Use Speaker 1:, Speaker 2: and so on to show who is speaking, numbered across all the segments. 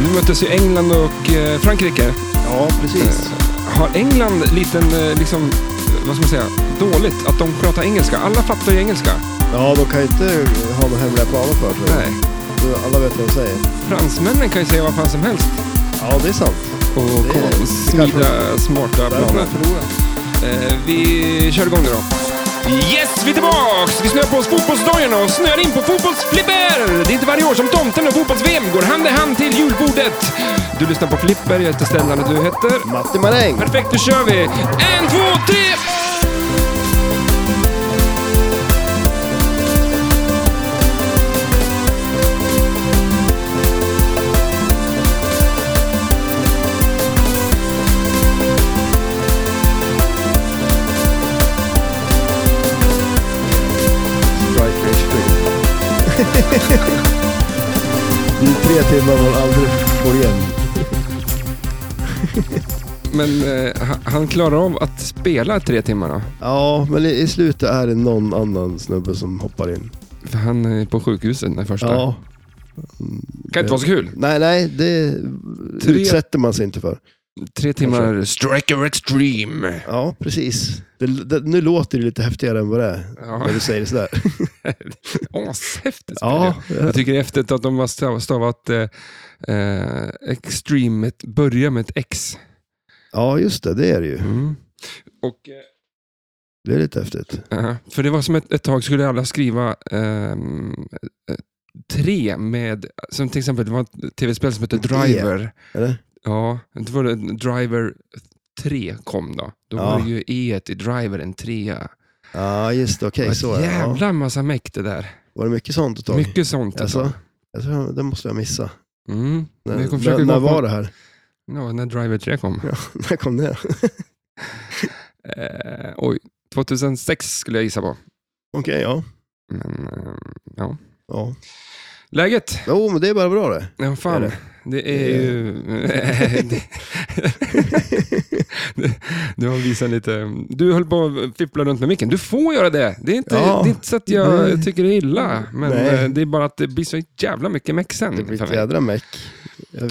Speaker 1: Nu möttes ju England och eh, Frankrike. Eh,
Speaker 2: Ja, precis.
Speaker 1: Har England liten, eh, liksom, eh, vad ska man säga, dåligt att de pratar engelska? Alla fattar ju engelska.
Speaker 2: Ja, de kan ju inte ha några hemliga planer för sig.
Speaker 1: Nej.
Speaker 2: Alla vet vad de säger.
Speaker 1: Fransmännen kan ju säga vad fan som helst
Speaker 2: Ja, det är sant.
Speaker 1: och
Speaker 2: Det är-
Speaker 1: kom- smida smarta
Speaker 2: Där har
Speaker 1: planer.
Speaker 2: jag förlorat.
Speaker 1: Eh, vi kör igång nu då. Yes, vi är tillbaks! Vi snör på oss fotbollsdojorna och snör in på fotbollsflipper! Det är inte varje år som tomten och fotbolls-VM går hand i hand till julbordet. Du lyssnar på Flipper, jag heter Stellan och du heter?
Speaker 2: Matti Maräng!
Speaker 1: Perfekt, då kör vi! En, två, tre!
Speaker 2: Strike Rage Free. I tre timmar man aldrig får igen.
Speaker 1: Men eh, ha- han klarar av att spela tre timmar då?
Speaker 2: Ja, men i, i slutet är det någon annan snubbe som hoppar in.
Speaker 1: För han är på sjukhuset den första.
Speaker 2: Ja.
Speaker 1: Kan inte vara så kul.
Speaker 2: Nej, nej, det
Speaker 1: Tre-
Speaker 2: utsätter man sig inte för.
Speaker 1: Tre timmar striker extreme.
Speaker 2: Ja, precis. Det, det, nu låter det lite häftigare än vad det är
Speaker 1: Ja,
Speaker 2: när du säger det sådär.
Speaker 1: ashäftigt.
Speaker 2: Ja,
Speaker 1: Jag tycker det är häftigt att de har stav- stavat eh, eh, extreme, med ett- börja med ett X.
Speaker 2: ja, just det. Det är det ju.
Speaker 1: Och, eh,
Speaker 2: Det är lite häftigt.
Speaker 1: aha. för det var som ett, ett tag skulle alla skriva ehm, eh, tre med, som till exempel det var ett tv-spel som hette
Speaker 2: Tre.
Speaker 1: Driver.
Speaker 2: Eller?
Speaker 1: Ja, det var det Driver 3 kom då. Då var
Speaker 2: Ja.
Speaker 1: det ju E i Driver en trea.
Speaker 2: Ja, just det. Okej,
Speaker 1: Det var
Speaker 2: så
Speaker 1: ett
Speaker 2: är det. Ja.
Speaker 1: jävla massa mäkt det där.
Speaker 2: Var det mycket sånt ett tag?
Speaker 1: Mycket sånt.
Speaker 2: Alltså, jag tror, det måste jag missa.
Speaker 1: Mm.
Speaker 2: När,
Speaker 1: Jag kommer försöka
Speaker 2: när,
Speaker 1: gå
Speaker 2: när
Speaker 1: på-
Speaker 2: var det här?
Speaker 1: Ja, när Driver 3 kom.
Speaker 2: Ja, när kom det? Okej,
Speaker 1: Eh, oj, 2006 skulle jag gissa på.
Speaker 2: ja.
Speaker 1: Men, eh, ja.
Speaker 2: ja.
Speaker 1: Läget?
Speaker 2: Jo, men det är bara bra det.
Speaker 1: Ja, fan.
Speaker 2: Är
Speaker 1: Det är, ju... det- du har visat lite... Du höll på att fippla runt med micken. Du får göra det. Det är inte,
Speaker 2: Ja.
Speaker 1: det är inte så att jag
Speaker 2: Nej.
Speaker 1: tycker det är illa, men
Speaker 2: Nej.
Speaker 1: eh, det är bara att det blir så jävla mycket meck sen.
Speaker 2: Det blir
Speaker 1: för
Speaker 2: ett
Speaker 1: mig.
Speaker 2: jädra meck.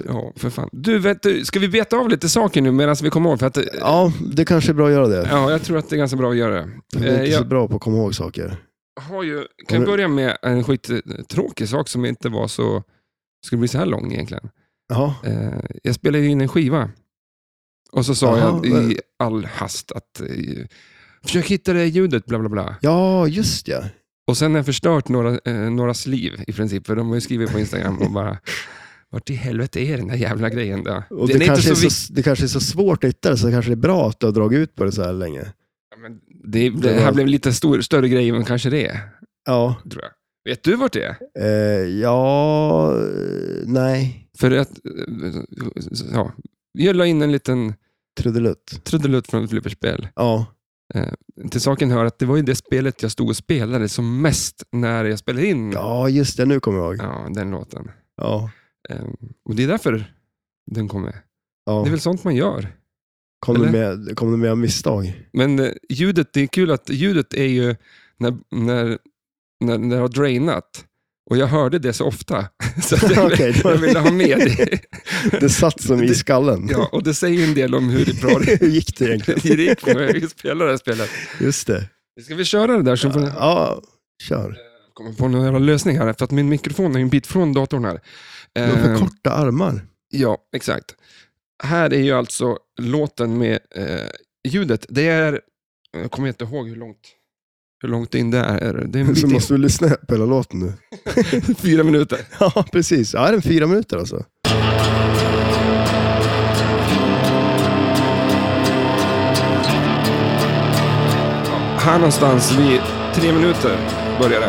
Speaker 1: Ja, för fan. Du, vet du, ska vi beta av lite saker nu medan vi kommer ihåg? För att, eh,
Speaker 2: Ja, det kanske är bra att göra det.
Speaker 1: ja, jag tror att det är ganska bra att göra det.
Speaker 2: Vi är
Speaker 1: Eh,
Speaker 2: inte så
Speaker 1: jag
Speaker 2: bra på att komma ihåg saker.
Speaker 1: har ju, kan jag börja med en skittråkig sak som inte var så... Skulle bli så här lång egentligen.
Speaker 2: Ja,
Speaker 1: Eh, jag spelade ju in en skiva. Och så sa
Speaker 2: Jaha,
Speaker 1: jag
Speaker 2: vad-
Speaker 1: i all hast att eh, försök hitta det ljudet, bla bla bla.
Speaker 2: ja just ja.
Speaker 1: Och sen har jag förstört några, eh, någras liv i princip, för de har ju skrivit på Instagram och bara vart i helvete är den där jävla grejen då? Den
Speaker 2: Och
Speaker 1: är
Speaker 2: det,
Speaker 1: inte
Speaker 2: kanske är
Speaker 1: så vik-
Speaker 2: så, det kanske är så svårt att hitta det, så det kanske är bra att du har dragit ut på det så här länge.
Speaker 1: Ja, men det, det här blev lite stor, större grej än kanske det är,
Speaker 2: Ja,
Speaker 1: tror jag. Vet du vart det är?
Speaker 2: eh, ja, eh, nej,
Speaker 1: För att, eh, ja, jag la in en liten
Speaker 2: trudelutt.
Speaker 1: trudelutt från ett flipperspel.
Speaker 2: Ja,
Speaker 1: Till saken hör att det var ju det spelet jag stod och spelade som mest när jag spelade in
Speaker 2: ja, just det, nu kommer jag ihåg.
Speaker 1: Ja, den låten.
Speaker 2: Ja,
Speaker 1: Ehm, Och det är därför den kom med. Det är
Speaker 2: ja.
Speaker 1: väl sånt man gör.
Speaker 2: Kom, du
Speaker 1: eller?
Speaker 2: med, kom du med av misstag?
Speaker 1: Men eh, ljudet, det är kul att ljudet är ju när, när, när, när det har drainat. Och jag hörde det så ofta. Så att jag,
Speaker 2: Okej, då-
Speaker 1: jag ville ha med det.
Speaker 2: Det satt som i
Speaker 1: Det-
Speaker 2: skallen.
Speaker 1: Ja, och det säger ju en del om hur bra det
Speaker 2: Hur gick det egentligen?
Speaker 1: hur det gick när jag spelade det här spelet.
Speaker 2: Just det.
Speaker 1: Ska vi köra det där så får jag
Speaker 2: Ja, kör.
Speaker 1: komma på någon jävla lösning här. För att min mikrofon är ju en bit från datorn här.
Speaker 2: Du har
Speaker 1: Ehm,
Speaker 2: för korta armar.
Speaker 1: Ja, exakt. Här är ju alltså låten med eh, ljudet. Det är, jag kommer inte ihåg hur långt, hur långt in det är. Det är en
Speaker 2: Så
Speaker 1: bit
Speaker 2: måste du lyssna på hela låten nu.
Speaker 1: in, fyra minuter.
Speaker 2: Ja, precis. Ja, är den fyra minuter alltså?
Speaker 1: Här någonstans vid tre minuter börjar det.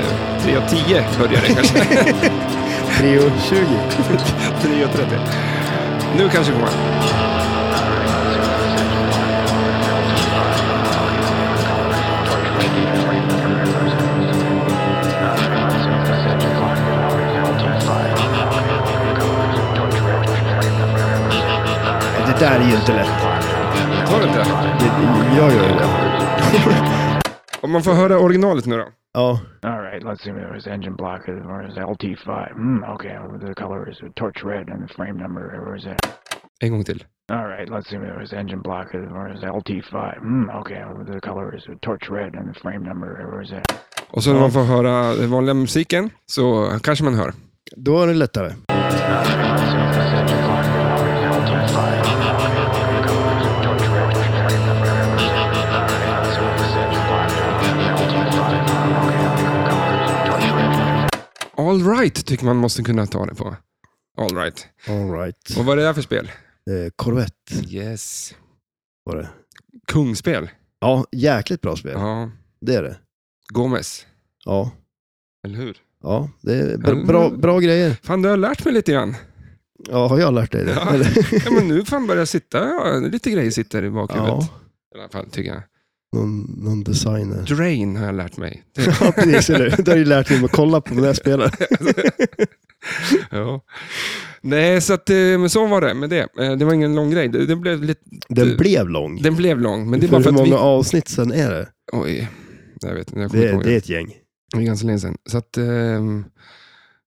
Speaker 1: Eh, Tre och tio börjar det kanske.
Speaker 2: 3.20.
Speaker 1: Tre och trettio. Nu kanske kommer han.
Speaker 2: Det där är ju inte lätt.
Speaker 1: Tar du inte?
Speaker 2: Det, jag gör ju det.
Speaker 1: Om man får höra originalet nu då.
Speaker 2: Ja,
Speaker 3: All right, let's see. There's engine block. There's LT5. Mm, okay, the color is torch red, and the frame number. Where is it?
Speaker 1: En gång till.
Speaker 3: All right, let's see. There's engine block. There's LT5. Mm, okay, the color is torch red, and the frame number. Where is it?
Speaker 1: Och så när man får höra den vanliga musiken så kanske man hör.
Speaker 2: då är det lättare.
Speaker 3: All right, let's see. There's engine block. There's LT5. The color is torch red, and the frame number. Where is it? All right, let's see. There's engine block. LT5. Okay, the color is torch red.
Speaker 1: All right tycker man måste kunna ta det på. All right.
Speaker 2: All right.
Speaker 1: Och vad är det där för spel?
Speaker 2: Eh, Corvette
Speaker 1: Yes.
Speaker 2: var det.
Speaker 1: Kungspel.
Speaker 2: Ja, jäkligt bra spel.
Speaker 1: Ja.
Speaker 2: Det är det.
Speaker 1: Gomes.
Speaker 2: Ja,
Speaker 1: Eller hur?
Speaker 2: ja det är
Speaker 1: Mm.
Speaker 2: bra, bra, bra grejer.
Speaker 1: Fan, du har lärt mig lite grann.
Speaker 2: Ja, har jag lärt dig det?
Speaker 1: Ja.
Speaker 2: Eller?
Speaker 1: Ja, men nu fan börjar jag sitta. Ja, lite grejer sitter i bakhuvudet.
Speaker 2: Ja,
Speaker 1: I alla fall tycker jag.
Speaker 2: någon, någon designer.
Speaker 1: Drain har jag lärt mig. Det-
Speaker 2: Ja, precis. eller hur? Du har ju lärt dig att kolla på när jag spelar.
Speaker 1: ja. Nej, så att, eh, men så var det med det. Eh, Det var ingen lång grej. Det- Den blev, lite,
Speaker 2: Den blev lång.
Speaker 1: den blev lång, men det är
Speaker 2: för
Speaker 1: bara för
Speaker 2: hur
Speaker 1: att
Speaker 2: många
Speaker 1: vi...
Speaker 2: avsnitt sen är det?
Speaker 1: Oj, jag vet inte. Jag kommer
Speaker 2: Det,
Speaker 1: inte
Speaker 2: är-
Speaker 1: ihåg.
Speaker 2: det är ett gäng.
Speaker 1: Det var ganska länge sedan. Så, att, ehm,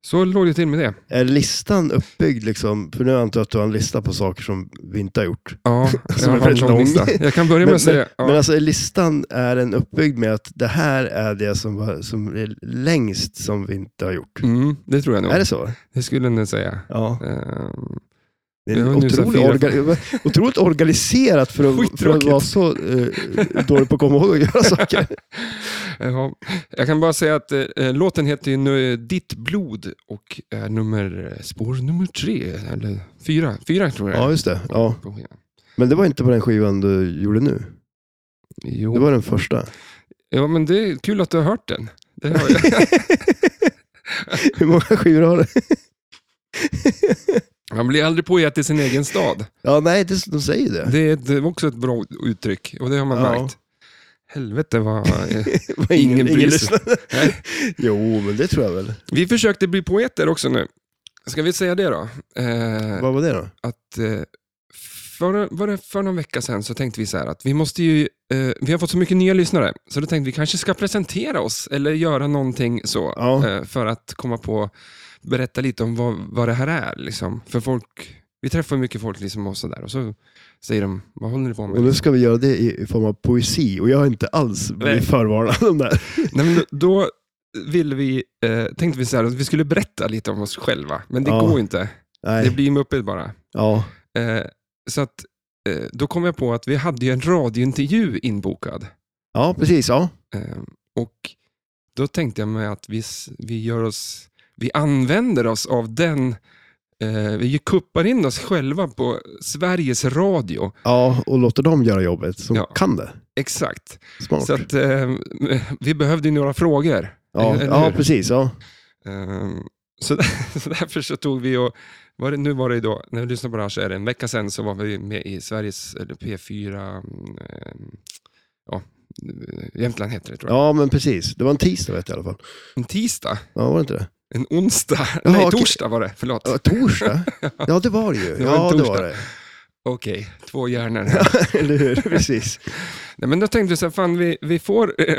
Speaker 1: så låg det till med det.
Speaker 2: Är listan uppbyggd liksom? För nu antar jag att du har en lista på saker som vi inte har gjort.
Speaker 1: Ja,
Speaker 2: Som
Speaker 1: jag
Speaker 2: är
Speaker 1: har en
Speaker 2: väldigt
Speaker 1: lång
Speaker 2: lång.
Speaker 1: lista. Jag kan börja med
Speaker 2: Men,
Speaker 1: att
Speaker 2: men,
Speaker 1: säga...
Speaker 2: men
Speaker 1: Ja,
Speaker 2: alltså är listan, är den uppbyggd med att det här är det som, var, som är längst som vi inte har gjort?
Speaker 1: mm, det tror jag nog.
Speaker 2: Är
Speaker 1: Det...
Speaker 2: det så?
Speaker 1: skulle jag nog säga.
Speaker 2: Ja.
Speaker 1: Ehm,
Speaker 2: Det är
Speaker 1: Jag har nu så här
Speaker 2: otroligt,
Speaker 1: fyra-
Speaker 2: orga, otroligt organiserat för att, för att
Speaker 1: Skittråkigt.
Speaker 2: vara så eh, dålig på att komma ihåg att göra saker.
Speaker 1: eh, Ja, jag kan bara säga att eh, låten heter ju nu eh, Ditt blod och är nummer, eh, spår nummer tre, eller fyra, fyra tror jag
Speaker 2: Ja,
Speaker 1: det är
Speaker 2: just det. Ja.
Speaker 1: på skivan.
Speaker 2: Men det var inte på den skivan du gjorde nu.
Speaker 1: Jo.
Speaker 2: Det var den första.
Speaker 1: Ja, men det är kul att du har hört den. Det har jag.
Speaker 2: Hur många skivor har du?
Speaker 1: Man blir aldrig poet i sin egen stad.
Speaker 2: Ja, nej, det, de säger det.
Speaker 1: Det är ett, det är också ett bra uttryck och det har man
Speaker 2: Ja.
Speaker 1: märkt. Helvete vad... eh,
Speaker 2: Det var
Speaker 1: ingen bryr sig.
Speaker 2: lyssnade.
Speaker 1: Nej.
Speaker 2: Jo, men det tror jag väl.
Speaker 1: Vi försökte bli poeter också nu. Ska vi säga det då? Eh,
Speaker 2: Vad var det då?
Speaker 1: att eh, för, var det för någon vecka sedan så tänkte vi så här att vi måste ju, eh, vi har fått så mycket nya lyssnare, så då tänkte vi kanske ska presentera oss eller göra någonting så
Speaker 2: Ja.
Speaker 1: eh, för att komma på, berätta lite om vad, vad det här är. Liksom. För folk, vi träffar mycket folk liksom och så där och så säger de, vad håller ni på med?
Speaker 2: Och nu ska vi göra det i i form av poesi och jag har inte alls
Speaker 1: Nej.
Speaker 2: blivit förvarnad om det här.
Speaker 1: Nej, men då ville vi, eh, tänkte vi så här att vi skulle berätta lite om oss själva, men det
Speaker 2: Ja.
Speaker 1: går ju inte. Det
Speaker 2: Nej.
Speaker 1: blir muppet bara.
Speaker 2: Ja.
Speaker 1: Eh, så att, eh, då kom jag på att vi hade ju en radiointervju inbokad.
Speaker 2: ja, precis. Ja.
Speaker 1: Eh, och då tänkte jag mig att vi, s- vi, gör oss, vi använder oss av den eh, vi kuppar in oss själva på Sveriges Radio.
Speaker 2: ja, och låter dem göra jobbet som
Speaker 1: Ja.
Speaker 2: kan det.
Speaker 1: Exakt.
Speaker 2: Smart.
Speaker 1: Så att, eh, vi behövde ju några frågor.
Speaker 2: ja.
Speaker 1: eller
Speaker 2: ja,
Speaker 1: hur?
Speaker 2: precis. Ja.
Speaker 1: Eh, så, så därför så tog vi och, var det, nu var det ju då, när vi lyssnade på det här så är det en vecka sedan så var vi med i Sveriges eller P4, eh, ja, Jämtland heter det tror jag.
Speaker 2: ja, men precis. Det var en tisdag vet jag i alla fall.
Speaker 1: En tisdag,
Speaker 2: Ja, var det inte det?
Speaker 1: en onsdag,
Speaker 2: Jaha,
Speaker 1: nej
Speaker 2: okej.
Speaker 1: torsdag var det, förlåt.
Speaker 2: Ja, torsdag? Ja, det var det ju.
Speaker 1: Det var en
Speaker 2: Ja, det
Speaker 1: torsdag.
Speaker 2: var det.
Speaker 1: Okej, två hjärnor här.
Speaker 2: Eller hur? Precis.
Speaker 1: Nej, men då tänkte vi så här, fan vi, vi får eh,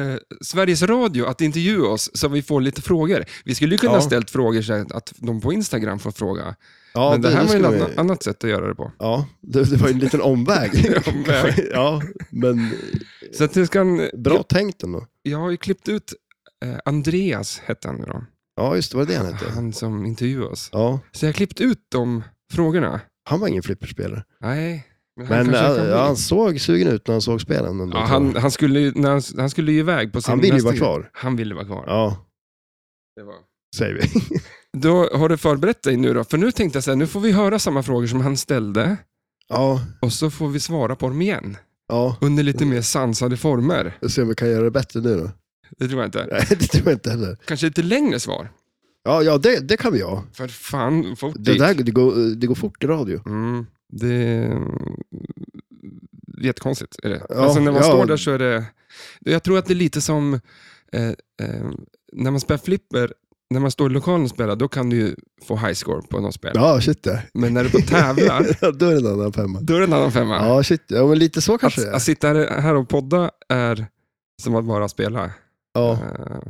Speaker 1: eh, Sveriges Radio att intervjua oss så vi får lite frågor. Vi skulle ju kunna
Speaker 2: Ja.
Speaker 1: ha ställt frågor så här att de på Instagram får fråga.
Speaker 2: Ja,
Speaker 1: men det, här var ju
Speaker 2: skulle
Speaker 1: ett
Speaker 2: vi-
Speaker 1: anna- annat sätt att göra det på.
Speaker 2: Ja, det, det var ju en liten omväg.
Speaker 1: Omväg.
Speaker 2: ja, men
Speaker 1: Så att det ska,
Speaker 2: bra tänkt ändå.
Speaker 1: jag har ju klippt ut eh, Andreas, hette han nu då.
Speaker 2: Ja, just det, var det han hette?
Speaker 1: Han som intervjuade oss.
Speaker 2: Ja,
Speaker 1: Så jag har klippt ut de frågorna.
Speaker 2: han var ingen flipperspelare.
Speaker 1: Nej, men han
Speaker 2: Men
Speaker 1: kanske kan
Speaker 2: han,
Speaker 1: bli.
Speaker 2: ja, han såg sugen ut när han såg spelen. Ändå,
Speaker 1: ja, han, han, skulle, ju- när han, han skulle ju iväg på sin
Speaker 2: han ville ju
Speaker 1: nästa
Speaker 2: vara
Speaker 1: grej.
Speaker 2: kvar.
Speaker 1: Han ville vara kvar.
Speaker 2: Ja,
Speaker 1: Det var.
Speaker 2: säger vi.
Speaker 1: Då har du förberett dig nu då? För nu tänkte jag så här, nu får vi höra samma frågor som han ställde
Speaker 2: Ja,
Speaker 1: och så får vi svara på dem igen.
Speaker 2: ja.
Speaker 1: Under lite mer sansade former.
Speaker 2: Jag ser om vi kan göra det bättre nu då.
Speaker 1: Det tror jag inte.
Speaker 2: Nej, det tror jag inte heller.
Speaker 1: Kanske lite längre svar.
Speaker 2: Ja, ja det, det kan vi ha.
Speaker 1: För fan, folk
Speaker 2: Det, där, det, går, det går fort i radio.
Speaker 1: Mm, det är mm, jättekonstigt. Är det.
Speaker 2: Ja,
Speaker 1: alltså när man
Speaker 2: ja.
Speaker 1: står där så är det... Jag tror att det är lite som eh, eh, när man spelar flipper, när man står i lokalen och spelar, då kan du ju få high score på något spel.
Speaker 2: Ja, shit det.
Speaker 1: Men när du är på tävlar,
Speaker 2: Ja, då är det en annan femma.
Speaker 1: då är det en annan femma. Alltså,
Speaker 2: Ja, shit. Ja, men lite så kanske
Speaker 1: Att,
Speaker 2: det är.
Speaker 1: att sitta här här och podda är som att bara spela.
Speaker 2: Ja.
Speaker 1: Eh,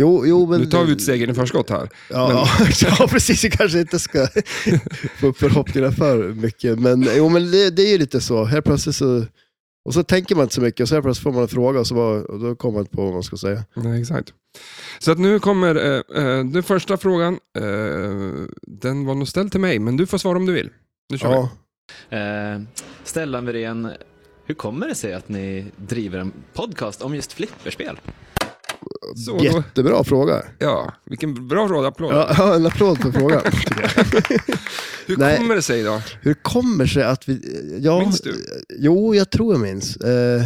Speaker 2: Jo, jo, men...
Speaker 1: nu tar vi ut segern i förskott här.
Speaker 2: Ja, ja, ja, precis. Jag kanske inte ska få upp förhoppningarna för mycket. Men, jo, men det, det är ju lite så. Helt plötsligt så... Och så tänker man inte så mycket och så helt plötsligt får man en fråga och, så bara, och då kommer man inte på vad man ska säga.
Speaker 1: Nej, exakt. Så att nu kommer eh, eh, den första frågan. Eh, den var nog ställd till mig, men du får svara om du vill. Nu kör vi.
Speaker 2: Ja.
Speaker 4: Eh, Stellan Wirén, hur kommer det sig att ni driver en podcast om just flipperspel?
Speaker 1: Så, då-
Speaker 2: Jättebra fråga.
Speaker 1: Ja, vilken bra rad applåd.
Speaker 2: Ja, ja, en applåd för frågan. tycker jag.
Speaker 1: Hur
Speaker 2: nej.
Speaker 1: kommer det sig då?
Speaker 2: Hur kommer sig att vi... Ja,
Speaker 1: Minns du?
Speaker 2: Jo, jag tror jag minns. Eh,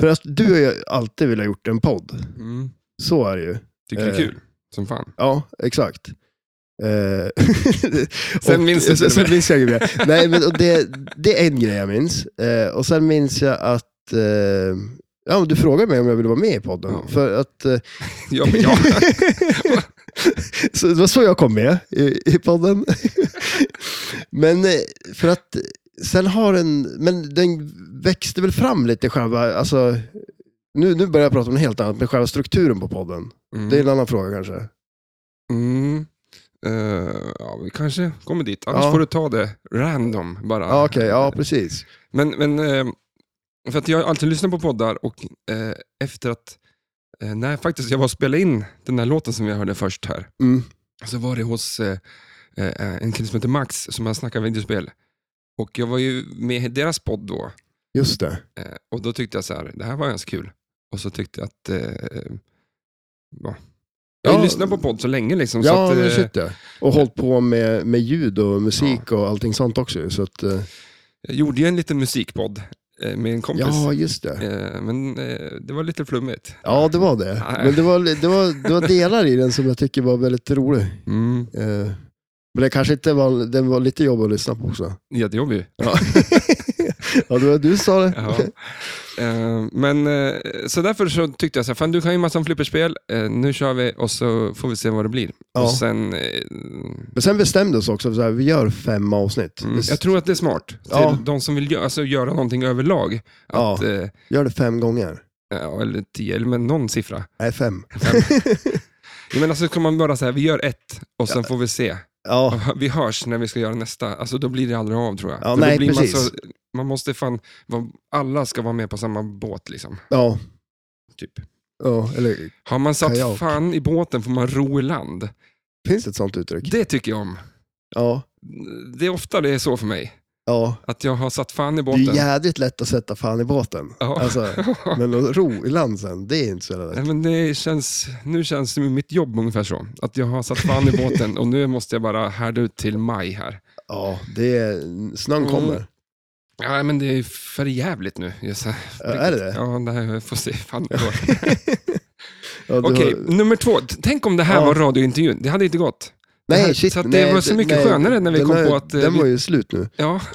Speaker 2: för att du har ju alltid velat ha gjort en podd.
Speaker 1: Mm,
Speaker 2: Så är det ju.
Speaker 1: tycker det är
Speaker 2: Eh.
Speaker 1: kul, som fan.
Speaker 2: Ja, exakt. Eh,
Speaker 1: Sen minns du inte det mer.
Speaker 2: sen, sen minns jag inget mer. Nej, men och det, det är en grej jag minns. Eh, och sen minns jag att eh, ja, men du frågade mig om jag ville vara med i podden.
Speaker 1: Ja.
Speaker 2: För att, eh,
Speaker 1: Ja, men ja.
Speaker 2: så, det var så jag kom med i, i podden. men eh, för att sen har den, men den växte väl fram lite själva, alltså, nu, nu börjar jag prata om något helt annat, men själva strukturen på podden.
Speaker 1: Mm.
Speaker 2: Det är en annan fråga kanske.
Speaker 1: Mm. Eh, ja, vi kanske kommer dit. Annars
Speaker 2: Ja.
Speaker 1: får du ta det random bara.
Speaker 2: Ja, Okej, ja precis.
Speaker 1: Men, men eh, för att jag har alltid lyssnat på poddar och eh, efter att, eh, när faktiskt jag var och spelade in den här låten som vi hörde först här,
Speaker 2: Mm.
Speaker 1: så var det hos eh, eh, en kille som heter Max som han snackar videospel. Och jag var ju med i deras podd då
Speaker 2: Just det.
Speaker 1: eh, och då tyckte jag så här, det här var ganska kul. Och så tyckte jag att, eh, ja. jag har ju
Speaker 2: Ja.
Speaker 1: lyssnat på podd så länge liksom. så
Speaker 2: ja,
Speaker 1: att,
Speaker 2: men
Speaker 1: eh,
Speaker 2: shit ja. Och hållit på med, med ljud och musik och allting sånt också. ju, Så att, eh,
Speaker 1: Jag gjorde ju en liten musikpodd eh, med en kompis.
Speaker 2: ja, just det.
Speaker 1: Eh, Men eh, det var lite flummigt.
Speaker 2: Ja, det var det.
Speaker 1: Nej.
Speaker 2: Men det var, det, var, det var delar i den som jag tycker var väldigt rolig.
Speaker 1: Mm,
Speaker 2: Eh, Men det kanske inte var, den var lite jobbig att lyssna på också.
Speaker 1: jättejobbig.
Speaker 2: Ja, ja det var du som sa det.
Speaker 1: Ja. Eh, Men eh, så därför så tyckte jag så här, fan du kan ju massa om flipperspel, Eh, nu kör vi och så får vi se vad det blir.
Speaker 2: Ja.
Speaker 1: Och sen, eh,
Speaker 2: Men sen bestämde oss också, för så här, vi gör fem avsnitt.
Speaker 1: mm,
Speaker 2: Vi
Speaker 1: jag tror att det är smart. Till
Speaker 2: Ja.
Speaker 1: de som vill gö- alltså, göra någonting överlag.
Speaker 2: Ja.
Speaker 1: Att, eh,
Speaker 2: gör det fem gånger.
Speaker 1: ja, eller tio, eller men någon siffra.
Speaker 2: Nej, fem.
Speaker 1: Jag menar så kan man bara så här, vi gör ett och sen får vi se.
Speaker 2: Ja,
Speaker 1: Vi hörs när vi ska göra nästa. Alltså då blir det aldrig av tror jag.
Speaker 2: Ja,
Speaker 1: För
Speaker 2: nej,
Speaker 1: då blir
Speaker 2: precis.
Speaker 1: Man, så, man måste fan, vara- alla ska vara med på samma båt liksom.
Speaker 2: ja,
Speaker 1: Typ.
Speaker 2: ja. Eller,
Speaker 1: Har man satt
Speaker 2: Kajak.
Speaker 1: fan i båten får man ro i land.
Speaker 2: finns det ett sånt uttryck?
Speaker 1: Det tycker jag om.
Speaker 2: Ja,
Speaker 1: Det är ofta det är så för mig.
Speaker 2: ja.
Speaker 1: Att jag har satt fan i
Speaker 2: Det är
Speaker 1: båten.
Speaker 2: jädrigt lätt att sätta fan i båten.
Speaker 1: Ja.
Speaker 2: Alltså, men att ro i land sen, det är inte så jävla lätt.
Speaker 1: Nej, men det känns, nu känns det med mitt jobb ungefär så. Att jag har satt fan i båten och nu måste jag bara härda ut till maj här.
Speaker 2: Ja, det är, snön
Speaker 1: Mm.
Speaker 2: kommer.
Speaker 1: Nej, men det är för jävligt nu. Jag sa-
Speaker 2: Ja, är det det?
Speaker 1: Ja, det här, jag får se. Fan, det går.
Speaker 2: Ja, du
Speaker 1: Okej,
Speaker 2: har-
Speaker 1: nummer två. T- Tänk om det här
Speaker 2: Ja.
Speaker 1: var radiointervjun. Det hade inte gått. det här-
Speaker 2: Nej, shit.
Speaker 1: så att det
Speaker 2: nej,
Speaker 1: var så mycket
Speaker 2: nej,
Speaker 1: skönare när vi
Speaker 2: den
Speaker 1: kom
Speaker 2: har-
Speaker 1: på att, eh,
Speaker 2: Den
Speaker 1: vi-
Speaker 2: var ju slut nu.
Speaker 1: Ja,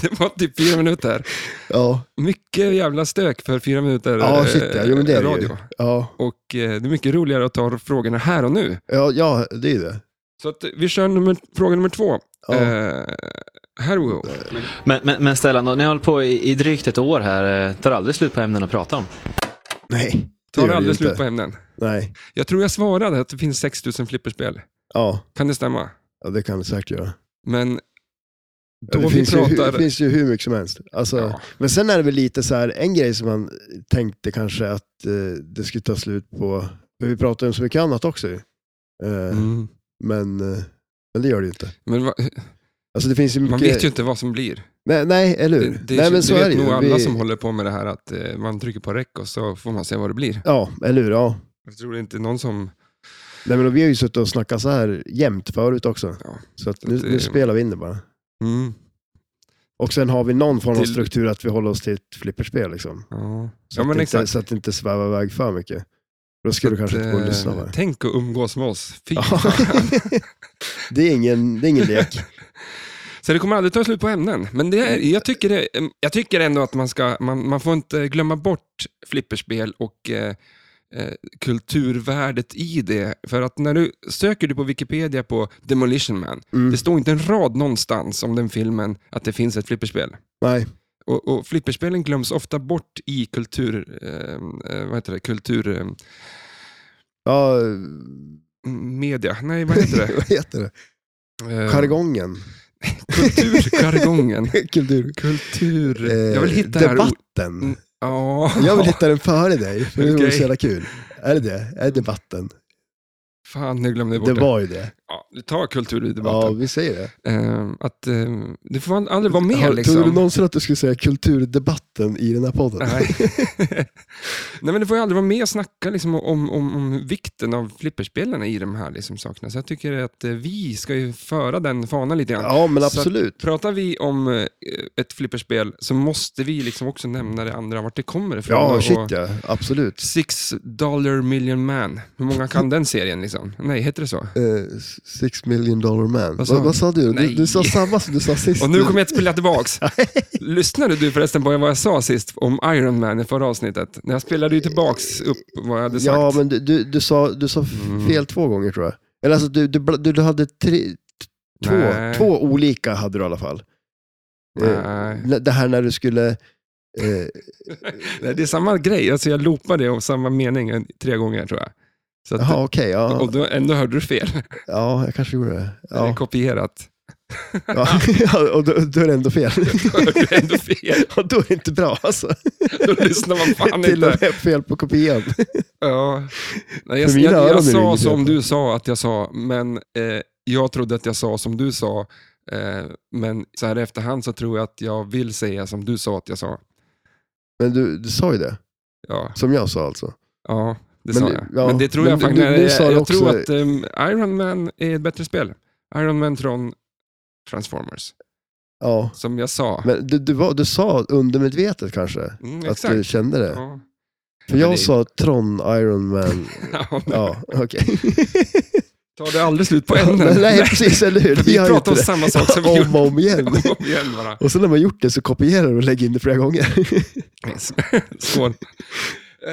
Speaker 1: det var typ fyra minuter.
Speaker 2: Ja,
Speaker 1: Mycket jävla stök för fyra minuter
Speaker 2: ja
Speaker 1: eh,
Speaker 2: shit ja. Jo, men det är det
Speaker 1: radio.
Speaker 2: ju. Ja,
Speaker 1: Och eh, det är mycket roligare att ta frågorna här och nu.
Speaker 2: ja, ja, det är ju det.
Speaker 1: Så att vi kör nummer, fråga nummer två.
Speaker 2: Ja.
Speaker 1: Eh, här we go.
Speaker 4: Men, men, men Stellan, då, ni har hållit på i, i drygt ett år här, eh, tar aldrig slut på ämnen att prata om.
Speaker 2: nej, det
Speaker 1: Tar
Speaker 2: gör det
Speaker 1: aldrig
Speaker 2: ju
Speaker 1: slut
Speaker 2: inte.
Speaker 1: på ämnen.
Speaker 2: Nej,
Speaker 1: Jag tror jag svarade att det finns 6000 flipperspel.
Speaker 2: ja,
Speaker 1: Kan det stämma?
Speaker 2: ja, det kan det säkert göra.
Speaker 1: Men
Speaker 2: Ja,
Speaker 1: då
Speaker 2: det,
Speaker 1: vi
Speaker 2: finns ju, hu-
Speaker 1: pratar...
Speaker 2: det finns ju hur mycket som helst. Alltså,
Speaker 1: Ja.
Speaker 2: Men sen är det väl lite så här, en grej som man tänkte kanske att eh, det skulle ta slut på, för vi pratar ju om så mycket annat också ju. eh,
Speaker 1: Mm.
Speaker 2: men, eh, men det gör det ju inte.
Speaker 1: Men va,
Speaker 2: Alltså det finns ju mycket...
Speaker 1: man vet ju inte vad som blir.
Speaker 2: Nej, nej eller hur?
Speaker 1: Det, det,
Speaker 2: nej, men
Speaker 1: det
Speaker 2: så
Speaker 1: vet
Speaker 2: är det ju.
Speaker 1: nog alla
Speaker 2: Vi-
Speaker 1: som håller på med det här att eh, man trycker på räck och så får man se vad det blir.
Speaker 2: Ja, eller hur? Ja.
Speaker 1: Jag tror det är inte någon som...
Speaker 2: Nej, men vi har ju suttit och snackat så här jämt förut också.
Speaker 1: Ja.
Speaker 2: Så att nu,
Speaker 1: Det-
Speaker 2: nu spelar vi in det bara.
Speaker 1: Mm,
Speaker 2: Och sen har vi någon form av
Speaker 1: Till-
Speaker 2: struktur att vi håller oss till ett flipperspel. Liksom.
Speaker 1: ja.
Speaker 2: Så,
Speaker 1: ja, men
Speaker 2: att inte,
Speaker 1: exakt.
Speaker 2: så att det inte svävar iväg för mycket. Då skulle du kanske inte gå och
Speaker 1: Eh,
Speaker 2: lyssna på det.
Speaker 1: Tänk att umgås med oss. Fy
Speaker 2: Ja.
Speaker 1: fan.
Speaker 2: det, är ingen, det är ingen lek.
Speaker 1: Så det kommer aldrig ta slut på ämnen. Men det är, jag, tycker det, jag tycker ändå att man, ska, man, man får inte glömma bort flipperspel och eh, eh, kulturvärdet i det. För att när du söker du på Wikipedia på Demolition Man,
Speaker 2: Mm.
Speaker 1: det står inte en rad någonstans om den filmen att det finns ett flipperspel.
Speaker 2: Nej,
Speaker 1: Och, och flipperspelen glöms ofta bort i kultur... Eh, eh, vad heter det? Kultur... Eh,
Speaker 2: Ja,
Speaker 1: media? Nej, vad heter det?
Speaker 2: vad heter det?
Speaker 1: Eh,
Speaker 2: Jargongen.
Speaker 1: Kulturjargongen.
Speaker 2: Kultur.
Speaker 1: Kultur...
Speaker 2: Eh,
Speaker 1: jag vill hitta det här Mm. ordet.
Speaker 2: debatten.
Speaker 1: Ja.
Speaker 2: Jag vill hitta den före dig, för det vore
Speaker 1: Okej.
Speaker 2: så jävla kul. Är det det? Är det debatten?
Speaker 1: Fan, nu glömde jag bort
Speaker 2: Det
Speaker 1: det.
Speaker 2: var ju det.
Speaker 1: Ja, ta kultur i
Speaker 2: Ja,
Speaker 1: debatten.
Speaker 2: vi säger det.
Speaker 1: Eh, att, eh, det får man aldrig vara med
Speaker 2: Har-
Speaker 1: liksom.
Speaker 2: Tror du någonsin att du skulle säga kulturdebatten i den här podden?
Speaker 1: Nej. Nej, men du får ju aldrig vara med och snacka liksom, om, om, om vikten av flipperspelarna i de här liksom, sakerna. Så jag tycker att eh, vi ska ju föra den fanan lite grann.
Speaker 2: Ja, men
Speaker 1: Så att-
Speaker 2: absolut.
Speaker 1: Pratar vi om eh, ett flipperspel så måste vi liksom också nämna det andra, vart det kommer ifrån.
Speaker 2: Ja,
Speaker 1: Och-
Speaker 2: shit ja. Absolut.
Speaker 1: Six Dollar Million Man. Hur många kan den serien? liksom? Nej, heter det så?
Speaker 2: Eh, six million dollar
Speaker 1: Vad
Speaker 2: man.
Speaker 1: sa
Speaker 2: Vad sa,
Speaker 1: han?
Speaker 2: vad sa du? du?
Speaker 1: Nej.
Speaker 2: Du sa samma som du sa sist.
Speaker 1: Och nu kommer jag att spela tillbaks. Lyssnade du förresten på vad jag sa sist om Iron Man i förra avsnittet? När jag spelade ju tillbaks upp vad jag hade sagt. Mm.
Speaker 2: Ja, men du, du, du sa, du sa fel två gånger tror jag. Eller alltså, du, du, bla- du, du hade tre, t- två,
Speaker 1: Nej.
Speaker 2: två olika hade du i alla fall. Eh,
Speaker 1: Nej.
Speaker 2: n- Det här när du skulle... Eh,
Speaker 1: Nej, det är samma grej. Alltså jag loopade det och samma mening en- tre gånger tror jag. Så att,
Speaker 2: jaha, okej. ja,
Speaker 1: Och då, ändå hörde du fel.
Speaker 2: ja, jag kanske gjorde det.
Speaker 1: Det är
Speaker 2: Ja,
Speaker 1: kopierat.
Speaker 2: ja, ja, och då, då är det ändå fel.
Speaker 1: Då hörde du ändå fel.
Speaker 2: Ja, då är det inte bra alltså.
Speaker 1: Då lyssnar man fan
Speaker 2: Till och
Speaker 1: inte.
Speaker 2: med fel på kopian.
Speaker 1: Ja. Nej, jag
Speaker 2: För mina
Speaker 1: jag, jag
Speaker 2: öron är det
Speaker 1: sa
Speaker 2: inget
Speaker 1: som
Speaker 2: fel på.
Speaker 1: du sa att jag sa, men eh, jag trodde att jag sa som du sa. Eh, men så här i efterhand så tror jag att jag vill säga som du sa att jag sa.
Speaker 2: Men du, du sa ju det,
Speaker 1: Ja,
Speaker 2: som jag sa alltså.
Speaker 1: ja det
Speaker 2: Men
Speaker 1: sa
Speaker 2: det-
Speaker 1: jag.
Speaker 2: ja,
Speaker 1: men det tror
Speaker 2: men
Speaker 1: jag
Speaker 2: du-
Speaker 1: faktiskt.
Speaker 2: du- du sa
Speaker 1: jag
Speaker 2: det
Speaker 1: jag
Speaker 2: också-
Speaker 1: tror att ehm, Iron Man är ett bättre spel. Iron Man från Transformers,
Speaker 2: Ja.
Speaker 1: som jag sa.
Speaker 2: Men du, du, var, du sa undermedvetet kanske?
Speaker 1: Mm,
Speaker 2: Att du
Speaker 1: exakt.
Speaker 2: kände det?
Speaker 1: Ja.
Speaker 2: För
Speaker 1: det-
Speaker 2: jag sa Tron Iron Man.
Speaker 1: Ja, men
Speaker 2: Ja, okej.
Speaker 1: Tar det aldrig slut på
Speaker 2: Men
Speaker 1: änden?
Speaker 2: Nej, precis, eller hur? Det
Speaker 1: Vi
Speaker 2: gör ju
Speaker 1: pratar om
Speaker 2: inte
Speaker 1: samma sak
Speaker 2: det.
Speaker 1: som vi
Speaker 2: Om och om igen.
Speaker 1: gjorde om igen bara.
Speaker 2: Och sen när man gjort det så kopierar du och lägger in det flera gånger.
Speaker 1: Yes. Skål. Eh,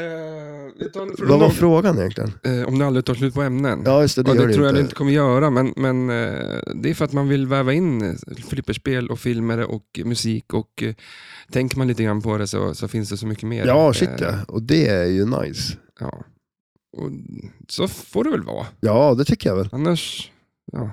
Speaker 1: vi tar en
Speaker 2: Vad
Speaker 1: fråga
Speaker 2: var
Speaker 1: om-
Speaker 2: frågan egentligen?
Speaker 1: eh, om ni aldrig tar slut på ämnen.
Speaker 2: Ja, just det, det
Speaker 1: och det
Speaker 2: gör
Speaker 1: tror jag
Speaker 2: du
Speaker 1: ni
Speaker 2: inte.
Speaker 1: inte kommer göra, men, men eh, det är för att man vill väva in eh, flipperspel och filmer och musik och eh, tänker man lite grann på det så, så finns det så mycket mer.
Speaker 2: Ja, shit
Speaker 1: Eh,
Speaker 2: ja. Och det är ju nice.
Speaker 1: ja. Och så får det väl vara.
Speaker 2: Ja, det tycker jag väl.
Speaker 1: Annars, ja.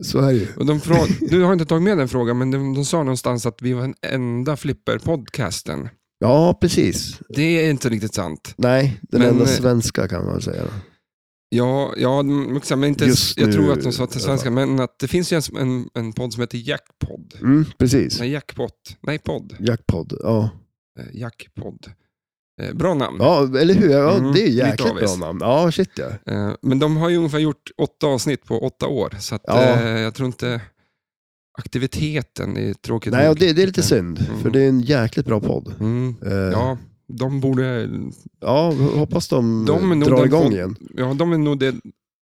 Speaker 2: Så är det ju.
Speaker 1: Och de frå- du har inte tagit med den frågan, men de, de sa någonstans att vi var den enda flipper-podcasten.
Speaker 2: Ja, precis.
Speaker 1: Det är inte riktigt sant.
Speaker 2: Nej, den
Speaker 1: Men,
Speaker 2: enda
Speaker 1: eh,
Speaker 2: svenska kan man säga.
Speaker 1: Ja, ja de- exakt, men inte, ens-
Speaker 2: Just
Speaker 1: jag
Speaker 2: nu,
Speaker 1: tror att de sa till
Speaker 2: i alla
Speaker 1: svenska, men att det finns ju en, en, en podd som heter Jackpod.
Speaker 2: Mm, precis.
Speaker 1: Nej, Jackpot. Nej, podd.
Speaker 2: Jackpod. Ja.
Speaker 1: Eh, Jackpod. Eh, bra namn.
Speaker 2: ja, eller hur? Ja,
Speaker 1: Mm,
Speaker 2: det är ju
Speaker 1: lite
Speaker 2: jäkligt bra
Speaker 1: avis.
Speaker 2: namn. Ja, shit ja.
Speaker 1: Eh, men de har ju ungefär gjort åtta avsnitt på åtta år, så att,
Speaker 2: Ja.
Speaker 1: eh, jag tror inte aktiviteten är tråkigt
Speaker 2: Nej,
Speaker 1: nog.
Speaker 2: och det, det är lite synd,
Speaker 1: Mm.
Speaker 2: för det är en jäkligt bra podd.
Speaker 1: Mm.
Speaker 2: Eh, ja.
Speaker 1: Ja, de borde
Speaker 2: hoppas de,
Speaker 1: De är nog
Speaker 2: drar
Speaker 1: den
Speaker 2: igång
Speaker 1: pod-
Speaker 2: igen.
Speaker 1: Ja, de är nog det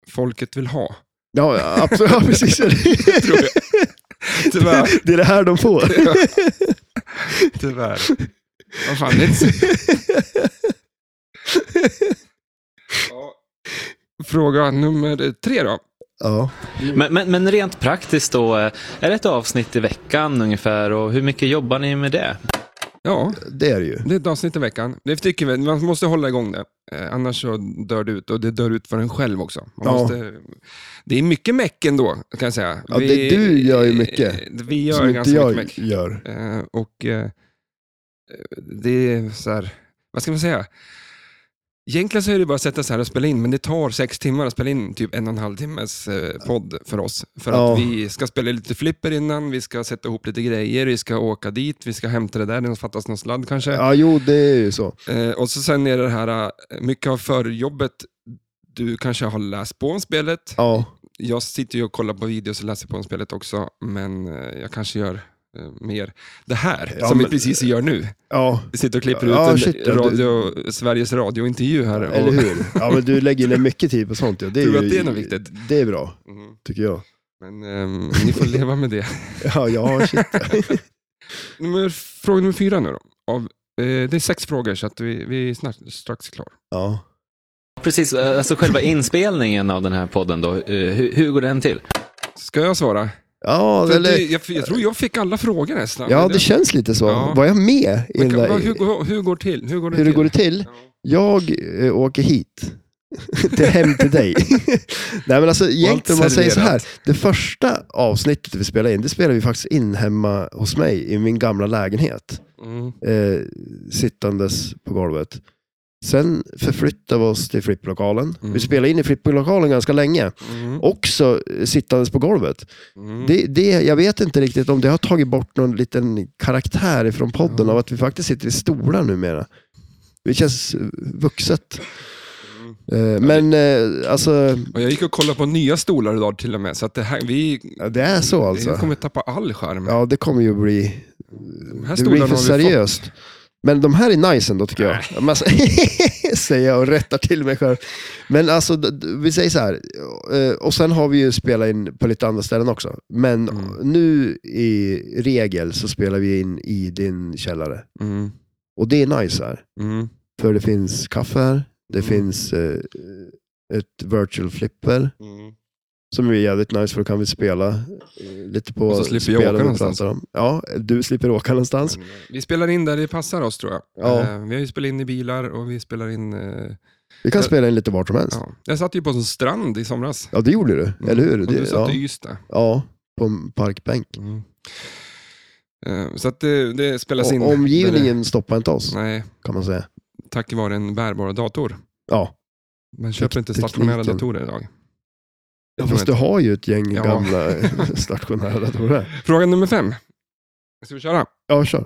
Speaker 1: folket vill ha,
Speaker 2: Ja, ja, absolut. Ja, precis.
Speaker 1: tror jag. Tyvärr.
Speaker 2: det är det här de får.
Speaker 1: Tyvärr. Vad fan, det är inte så... ja. Fråga nummer tre då.
Speaker 2: Ja.
Speaker 4: Men, men, men rent praktiskt då, eh, är det ett avsnitt i veckan ungefär och hur mycket jobbar ni med det?
Speaker 1: Ja,
Speaker 2: Det är det ju.
Speaker 1: det är ett avsnitt i veckan. Det tycker vi, man måste hålla igång det. Eh, annars så dör det ut och det dör ut för en själv också. Man
Speaker 2: Ja.
Speaker 1: måste, det är mycket meck ändå, kan jag säga.
Speaker 2: Ja, det- du gör ju mycket,
Speaker 1: eh, Vi gör
Speaker 2: Som inte
Speaker 1: ganska
Speaker 2: jag
Speaker 1: mycket meck.
Speaker 2: gör.
Speaker 1: Eh, och eh, det är så här, vad ska man säga? Egentligen så är det bara att sätta sig här och spela in, men det tar sex timmar att spela in typ en och en halv timmes eh, podd för oss. För
Speaker 2: Ja.
Speaker 1: att vi ska spela lite flipper innan, vi ska sätta ihop lite grejer, vi ska åka dit, vi ska hämta det där, det fattas någon sladd kanske.
Speaker 2: Ja, jo, det är ju så.
Speaker 1: Eh, och så sen är det här, eh, mycket av förjobbet, du kanske har läst på om spelet.
Speaker 2: Ja,
Speaker 1: Jag sitter ju och kollar på videos och läser på om spelet också, men eh, jag kanske gör eh, mer det här,
Speaker 2: Ja,
Speaker 1: som vi
Speaker 2: men-
Speaker 1: precis gör nu.
Speaker 2: ja
Speaker 1: Vi sitter och klipper
Speaker 2: Ja,
Speaker 1: ut en
Speaker 2: shit, ja, du-
Speaker 1: radio, Sveriges Radio-intervju här. Och,
Speaker 2: eller hur? Ja, men du lägger ner mycket tid på sånt. Ja. Det är
Speaker 1: Tror
Speaker 2: ju,
Speaker 1: att det är något viktigt?
Speaker 2: Det är bra,
Speaker 1: Mm,
Speaker 2: tycker jag.
Speaker 1: Men ehm, ni får leva med det.
Speaker 2: Ja, ja shit.
Speaker 1: Nummer, fråga nummer fyra nu då. Av, eh, det är sex frågor, så att vi, vi är snart, strax klar.
Speaker 2: Ja.
Speaker 4: Precis, eh, alltså själva inspelningen av den här podden då, eh, hur, hur går den till?
Speaker 1: Ska jag svara?
Speaker 2: Ja,
Speaker 1: För det,
Speaker 2: eller,
Speaker 1: jag, jag tror jag fick alla frågor nästan.
Speaker 2: ja, det känns lite så.
Speaker 1: Ja.
Speaker 2: Var jag med i
Speaker 1: Men
Speaker 2: den
Speaker 1: kan-
Speaker 2: där,
Speaker 1: vad- hur, går- hur går det till? Hur går det
Speaker 2: hur det
Speaker 1: till?
Speaker 2: går det till?
Speaker 1: Ja.
Speaker 2: Jag eh, åker hit. till hem till dig. Nej men alltså egentligen om man säger så här. Det första avsnittet vi spelade in, det spelade vi faktiskt in hemma hos mig i min gamla lägenhet.
Speaker 1: Mm.
Speaker 2: Eh, sittandes på golvet. Sen förflyttade vi oss till flipplokalen.
Speaker 1: Mm.
Speaker 2: Vi spelade in i flipplokalen ganska länge.
Speaker 1: Mm.
Speaker 2: Också eh, sittandes på golvet.
Speaker 1: Mm.
Speaker 2: Det, det, jag vet inte riktigt om det har tagit bort någon liten karaktär ifrån podden
Speaker 1: Ja.
Speaker 2: av att vi faktiskt sitter i stolar numera. Det känns eh, vuxet. Eh, Men eh, alltså,
Speaker 1: Och jag gick och kollade på nya stolar idag till och med, så att det här, vi
Speaker 2: ja, det är så
Speaker 1: vi
Speaker 2: alltså.
Speaker 1: kommer tappa all skärm.
Speaker 2: Ja, det kommer ju bli,
Speaker 1: De här
Speaker 2: det blir
Speaker 1: stolarna
Speaker 2: för
Speaker 1: har vi fått.
Speaker 2: seriöst. Men de här är nice ändå tycker jag. Ja, men Alltså, säger jag och rättar till mig själv. Men alltså, d- d- vi säger så här. eh, Och sen har vi ju spelat in på lite andra ställen också. Men
Speaker 1: Mm.
Speaker 2: nu i regel så spelar vi in i din källare.
Speaker 1: Mm.
Speaker 2: Och det är nice här.
Speaker 1: Mm.
Speaker 2: För det finns kaffe här. Det
Speaker 1: Mm.
Speaker 2: finns eh, ett virtual flipper
Speaker 1: Mm.
Speaker 2: som är jävligt nice för då kan vi spela eh, lite på
Speaker 1: Och så slipper jag
Speaker 2: spelen
Speaker 1: åka
Speaker 2: vi
Speaker 1: någonstans.
Speaker 2: pratar om. Ja, du slipper åka någonstans.
Speaker 1: Vi spelar in där det passar oss tror jag.
Speaker 2: Ja.
Speaker 1: Eh, Vi har ju spelat in i bilar och vi spelar in... eh,
Speaker 2: Vi kan
Speaker 1: Ja.
Speaker 2: spela in lite vart som helst.
Speaker 1: Ja. Jag satt ju på en strand i somras.
Speaker 2: Ja, det gjorde du, eller hur?
Speaker 1: Och Mm. du
Speaker 2: Det, ja,
Speaker 1: satt i Ystad.
Speaker 2: ja, på en parkbänk.
Speaker 1: Eh, Så att det, det spelas in.
Speaker 2: Och, omgivningen stoppar inte oss,
Speaker 1: Nej,
Speaker 2: kan man säga.
Speaker 1: tack vare en bärbar dator.
Speaker 2: Ja,
Speaker 1: Man köper inte
Speaker 2: tekniken.
Speaker 1: stationära datorer idag. Det tror jag
Speaker 2: fast du
Speaker 1: inte.
Speaker 2: har ju ett gäng
Speaker 1: Ja.
Speaker 2: gamla stationära datorer.
Speaker 1: Fråga nummer fem. Ska vi köra?
Speaker 2: Ja, kör.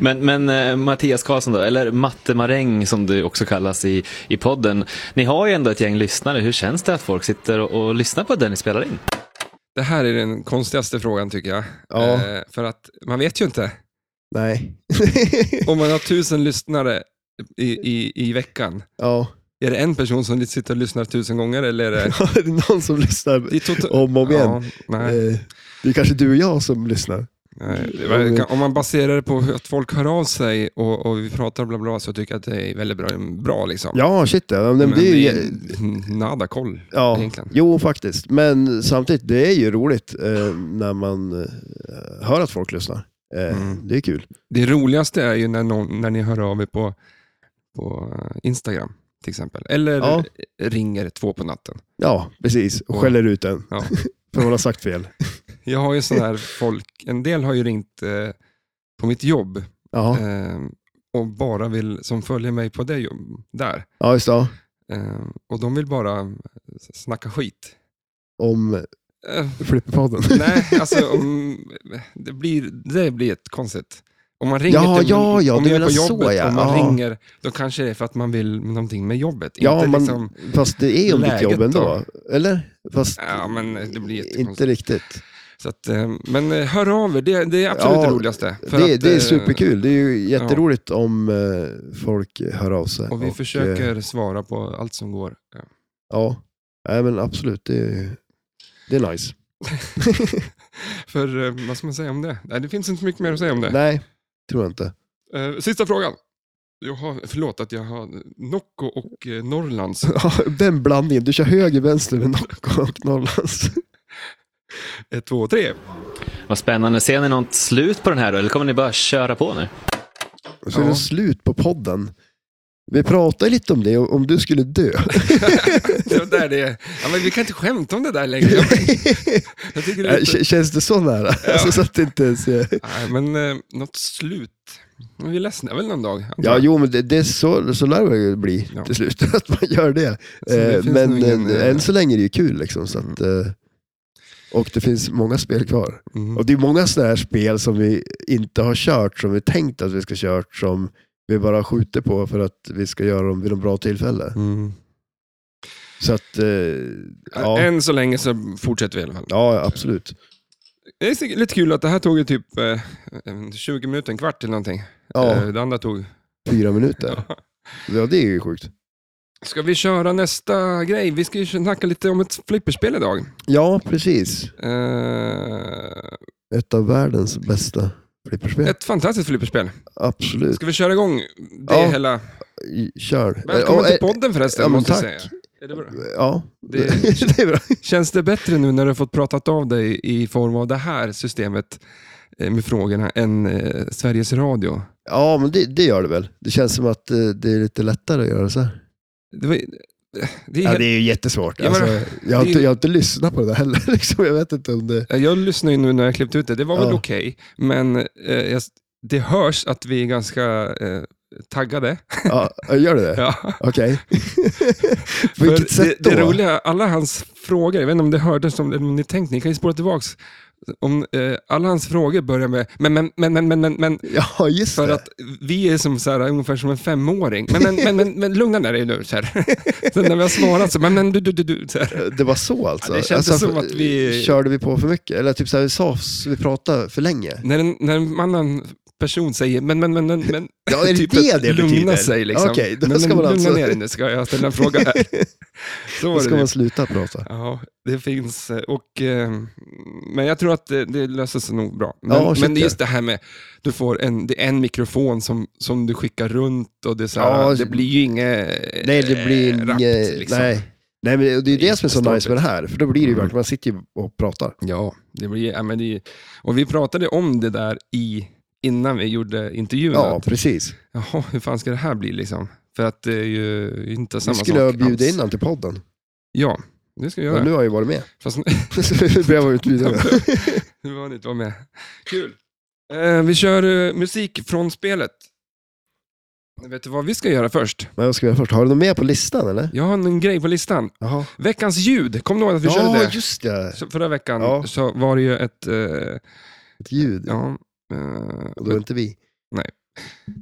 Speaker 4: Men, men eh, Mattias Karlsson då, eller Mattemaräng som du också kallas i, i podden. Ni har ju ändå ett gäng lyssnare. Hur känns det att folk sitter och, och lyssnar på det ni spelar in?
Speaker 1: Det här är den konstigaste frågan tycker jag.
Speaker 2: Ja.
Speaker 1: Eh, För att man vet ju inte.
Speaker 2: Nej.
Speaker 1: Om man har tusen lyssnare i, i, i veckan,
Speaker 2: ja.
Speaker 1: är det en person som sitter och lyssnar tusen gånger eller är det...
Speaker 2: det är någon som lyssnar
Speaker 1: det är tota-
Speaker 2: om och om igen.
Speaker 1: Ja, nej,
Speaker 2: Eh, Det är kanske du och jag som lyssnar.
Speaker 1: nej. Det verkar- Om man baserar det på att folk hör av sig och, och vi pratar bla bla så tycker jag att det är väldigt bra, bra liksom.
Speaker 2: Ja, shit ja. Men det är ju,
Speaker 1: nada koll
Speaker 2: ja.
Speaker 1: egentligen.
Speaker 2: Jo, faktiskt. Men samtidigt, det är ju roligt eh, när man eh, hör att folk lyssnar. Eh,
Speaker 1: Mm.
Speaker 2: Det är kul.
Speaker 1: Det roligaste är ju när, någon, när ni hör av er på, på Instagram till exempel. Eller
Speaker 2: Ja.
Speaker 1: ringer två på natten.
Speaker 2: Ja, precis. Och
Speaker 1: Ja.
Speaker 2: skäller ut en.
Speaker 1: Ja.
Speaker 2: För man har sagt fel.
Speaker 1: Jag har ju sån här folk, en del har ju ringt eh, på mitt jobb
Speaker 2: Ja,
Speaker 1: Ehm, och bara vill, som följer mig på det jobb, där.
Speaker 2: ja just det.
Speaker 1: Ehm, och de vill bara s- snacka skit.
Speaker 2: Om
Speaker 1: Eh,
Speaker 2: Flipperpodden.
Speaker 1: nej, alltså om, det, blir, det blir ett konstigt. Om man ringer
Speaker 2: Ja,
Speaker 1: till,
Speaker 2: ja, ja,
Speaker 1: om
Speaker 2: du
Speaker 1: jag är på
Speaker 2: menar så,
Speaker 1: jobbet,
Speaker 2: ja.
Speaker 1: om man
Speaker 2: Ja.
Speaker 1: ringer, då kanske det är för att man vill någonting med jobbet.
Speaker 2: Ja,
Speaker 1: inte
Speaker 2: man,
Speaker 1: liksom,
Speaker 2: fast det är ju om ditt
Speaker 1: läget
Speaker 2: jobb ändå.
Speaker 1: då.
Speaker 2: Eller? Fast
Speaker 1: ja men det blir
Speaker 2: inte
Speaker 1: jättekonstigt.
Speaker 2: riktigt.
Speaker 1: Så att, eh, men eh, hör av er, det, det är absolut
Speaker 2: Ja,
Speaker 1: det roligaste. För
Speaker 2: Det,
Speaker 1: att,
Speaker 2: det är
Speaker 1: eh,
Speaker 2: superkul. Det är ju jätteroligt om eh, folk hör av sig.
Speaker 1: Och vi
Speaker 2: eh,
Speaker 1: försöker svara på allt som går. Ja.
Speaker 2: Ja, Nej, men absolut. Det är, det är nice.
Speaker 1: För eh, vad ska man säga om det? Nej, det finns inte mycket mer att säga om det.
Speaker 2: Nej, tror jag inte.
Speaker 1: Eh, sista frågan. Jag har, förlåt att jag har Nocco och eh, Norrlands.
Speaker 2: Ja, Den blandningen. Du kör höger, vänster med Nocco och Norrlands.
Speaker 1: Ett, eh, två, tre.
Speaker 4: Vad spännande. Ser ni något slut på den här då? Eller kommer ni bara köra på nu?
Speaker 2: Så är
Speaker 1: Ja.
Speaker 2: det slut på podden. Vi pratade lite om det, om du skulle dö.
Speaker 1: Det där det är. Ja, men vi kan inte skämta om det där längre. Jag, jag tycker det är
Speaker 2: Äh,
Speaker 1: lite...
Speaker 2: k- Känns det så nära? Alltså, så att det inte ens är...
Speaker 1: Nej, men eh, något slut. Men Vi ledsnar väl någon dag? antar
Speaker 2: Ja,
Speaker 1: jag.
Speaker 2: jo, men det, det är så, så lär det ju bli
Speaker 1: Ja.
Speaker 2: till slut, att man gör det.
Speaker 1: Så det
Speaker 2: Eh,
Speaker 1: finns
Speaker 2: men
Speaker 1: nog ingen,
Speaker 2: eh,
Speaker 1: eh,
Speaker 2: än så länge är det ju kul. Liksom, så att, eh, och det finns många spel kvar.
Speaker 1: Mm.
Speaker 2: Och det är många sådana här spel som vi inte har kört, som vi tänkt att vi ska kört, som vi bara skjuter på för att vi ska göra dem vid något bra tillfälle.
Speaker 1: Mm.
Speaker 2: Så att, eh, ja,
Speaker 1: Än så länge så fortsätter vi i alla fall.
Speaker 2: ja, absolut.
Speaker 1: Det är säkert lite kul att det här tog ju typ eh, en 20 minuter, en kvart eller någonting. Eh,
Speaker 2: Ja,
Speaker 1: Det andra tog...
Speaker 2: fyra minuter. Ja, det är ju sjukt.
Speaker 1: Ska vi köra nästa grej? Vi ska ju snacka lite om ett flipperspel idag.
Speaker 2: Ja, precis.
Speaker 1: Eh,
Speaker 2: Ett av världens bästa flipperspel.
Speaker 1: ett fantastiskt flipperspel.
Speaker 2: Absolut.
Speaker 1: Ska vi köra igång det
Speaker 2: Ja.
Speaker 1: hela?
Speaker 2: I- Kör.
Speaker 1: Välkommen
Speaker 2: Ja,
Speaker 1: till
Speaker 2: eh,
Speaker 1: podden förresten,
Speaker 2: ja, men
Speaker 1: måste jag
Speaker 2: tack.
Speaker 1: säga. Är det bra?
Speaker 2: Ja,
Speaker 1: Det,
Speaker 2: det är bra.
Speaker 1: känns det bättre nu när du har fått pratat av dig i form av det här systemet eh, med frågorna än eh, Sveriges Radio?
Speaker 2: Ja, men det, det gör det väl. Det känns som att eh, det är lite lättare att göra så här.
Speaker 1: Det, var, det är
Speaker 2: Ja,
Speaker 1: helt,
Speaker 2: det är ju jättesvårt.
Speaker 1: Ja, men-
Speaker 2: Alltså, jag, har
Speaker 1: det är-
Speaker 2: inte, jag har inte lyssnat på det där heller. Liksom. Jag vet inte om det...
Speaker 1: Jag lyssnar ju nu när jag klippte ut det. Det var väl
Speaker 2: Ja.
Speaker 1: okej, men eh, jag, det hörs att vi är ganska eh, taggade.
Speaker 2: Ja, gör det det?
Speaker 1: Ja.
Speaker 2: Okej. På vilket
Speaker 1: För
Speaker 2: sätt
Speaker 1: det,
Speaker 2: då?
Speaker 1: det roliga, alla hans frågor, jag vet inte om det hördes som eller om ni tänkte, ni kan ju spola tillbaks. Om, eh, alla hans frågor börjar med men, men, men, men, men, men, men.
Speaker 2: Ja, just
Speaker 1: För
Speaker 2: det.
Speaker 1: att vi är som så här, ungefär som en femåring. Men, men, men, men, men lugna ner dig nu. Så här. Sen när vi har svarat så, men, men, du, du, du, du. Så här.
Speaker 2: Det var så alltså?
Speaker 1: Ja, det kändes
Speaker 2: alltså,
Speaker 1: som att vi-
Speaker 2: Körde vi på för mycket? Eller typ så här, vi sa vi pratade för länge?
Speaker 1: När, en, när en annan person säger, men, men, men, men, men.
Speaker 2: Ja, är det
Speaker 1: typ
Speaker 2: det
Speaker 1: att
Speaker 2: det
Speaker 1: lugna
Speaker 2: betyder?
Speaker 1: sig liksom.
Speaker 2: Okej, då
Speaker 1: men,
Speaker 2: ska
Speaker 1: men,
Speaker 2: man alltså-
Speaker 1: Lugna ner dig nu, ska jag ställa en fråga här. Så
Speaker 2: Då
Speaker 1: var
Speaker 2: ska
Speaker 1: det.
Speaker 2: man sluta prata.
Speaker 1: Ja, det finns. eh, Och, eh, men jag tror att det, det löser sig nog bra. Men,
Speaker 2: Ja, shit,
Speaker 1: men det är
Speaker 2: ja.
Speaker 1: just det här med, du får en, det är en mikrofon som, som du skickar runt och det, är så här,
Speaker 2: Ja,
Speaker 1: det blir ju inget eh,
Speaker 2: Nej, det blir
Speaker 1: rappt,
Speaker 2: inget...
Speaker 1: liksom.
Speaker 2: Nej. nej, men det är ju det som är så nice
Speaker 1: Jättestabbigt.
Speaker 2: med det här. För då blir det ju
Speaker 1: Mm.
Speaker 2: verkligen, man sitter ju och pratar.
Speaker 1: Ja, det blir, ja men det, och vi pratade om det där i, innan vi gjorde intervjun.
Speaker 2: Ja,
Speaker 1: Att,
Speaker 2: precis.
Speaker 1: Jaha, hur fan ska det här bli liksom? För att det är ju inte
Speaker 2: Nu
Speaker 1: samma
Speaker 2: skulle
Speaker 1: sak
Speaker 2: jag bjuda
Speaker 1: alls.
Speaker 2: in honom till podden.
Speaker 1: Ja, det ska vi
Speaker 2: Och
Speaker 1: göra.
Speaker 2: nu har jag ju varit med.
Speaker 1: Fast,
Speaker 2: Så nu blev jag utbjuden.
Speaker 1: Nu var ni inte med. Kul. Eh, vi kör eh, musik från spelet. Vet du vad vi ska göra först?
Speaker 2: Men vad ska vi göra först? Har du något mer på listan eller?
Speaker 1: Jag har en grej på listan.
Speaker 2: Jaha.
Speaker 1: Veckans ljud. Kommer du ihåg att vi körde
Speaker 2: Ja,
Speaker 1: det?
Speaker 2: just det.
Speaker 1: Så Förra veckan
Speaker 2: Ja.
Speaker 1: så var det ju ett... eh,
Speaker 2: Ett ljud.
Speaker 1: ja, eh,
Speaker 2: Och då är inte vi.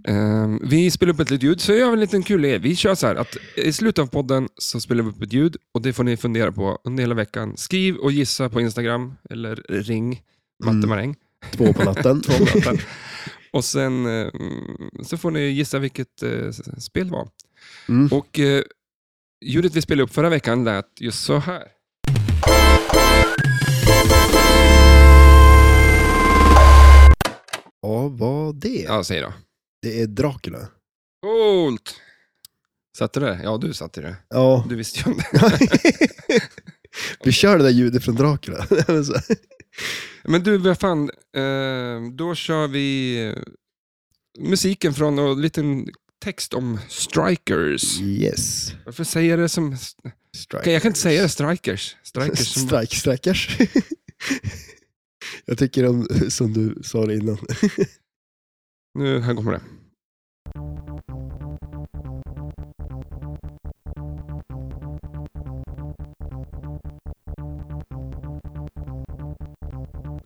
Speaker 1: Ehm, vi spelar upp ett litet ljud, så jag har en liten kul er. Vi kör så här att i slutet av podden så spelar vi upp ett ljud och det får ni fundera på under hela veckan. Skriv och gissa på Instagram eller ring Matte
Speaker 2: Mm.
Speaker 1: Maräng.
Speaker 2: Två på natten.
Speaker 1: Två möten. och sen eh, så får ni gissa vilket eh, spel det var.
Speaker 2: Mm.
Speaker 1: Och eh, ljudet vi spelade upp förra veckan lät just så här.
Speaker 2: Ja, vad det?
Speaker 1: Ja, säg då.
Speaker 2: Det är Dracula.
Speaker 1: Coolt! Satte du det? Ja, du satte det.
Speaker 2: Ja.
Speaker 1: Du visste ju om det.
Speaker 2: Vi kör det där ljudet från Dracula. Så.
Speaker 1: Men du, vad fan. Eh, då kör vi eh, musiken från och en liten text om
Speaker 2: Mm.
Speaker 1: strikers.
Speaker 2: yes.
Speaker 1: Varför säger jag det som...
Speaker 2: Strike.
Speaker 1: Jag kan inte säga det, strikers. Strikers. Som...
Speaker 2: Strike, strikers. Jag tycker om, som du sa det innan.
Speaker 1: Nu, här kommer det.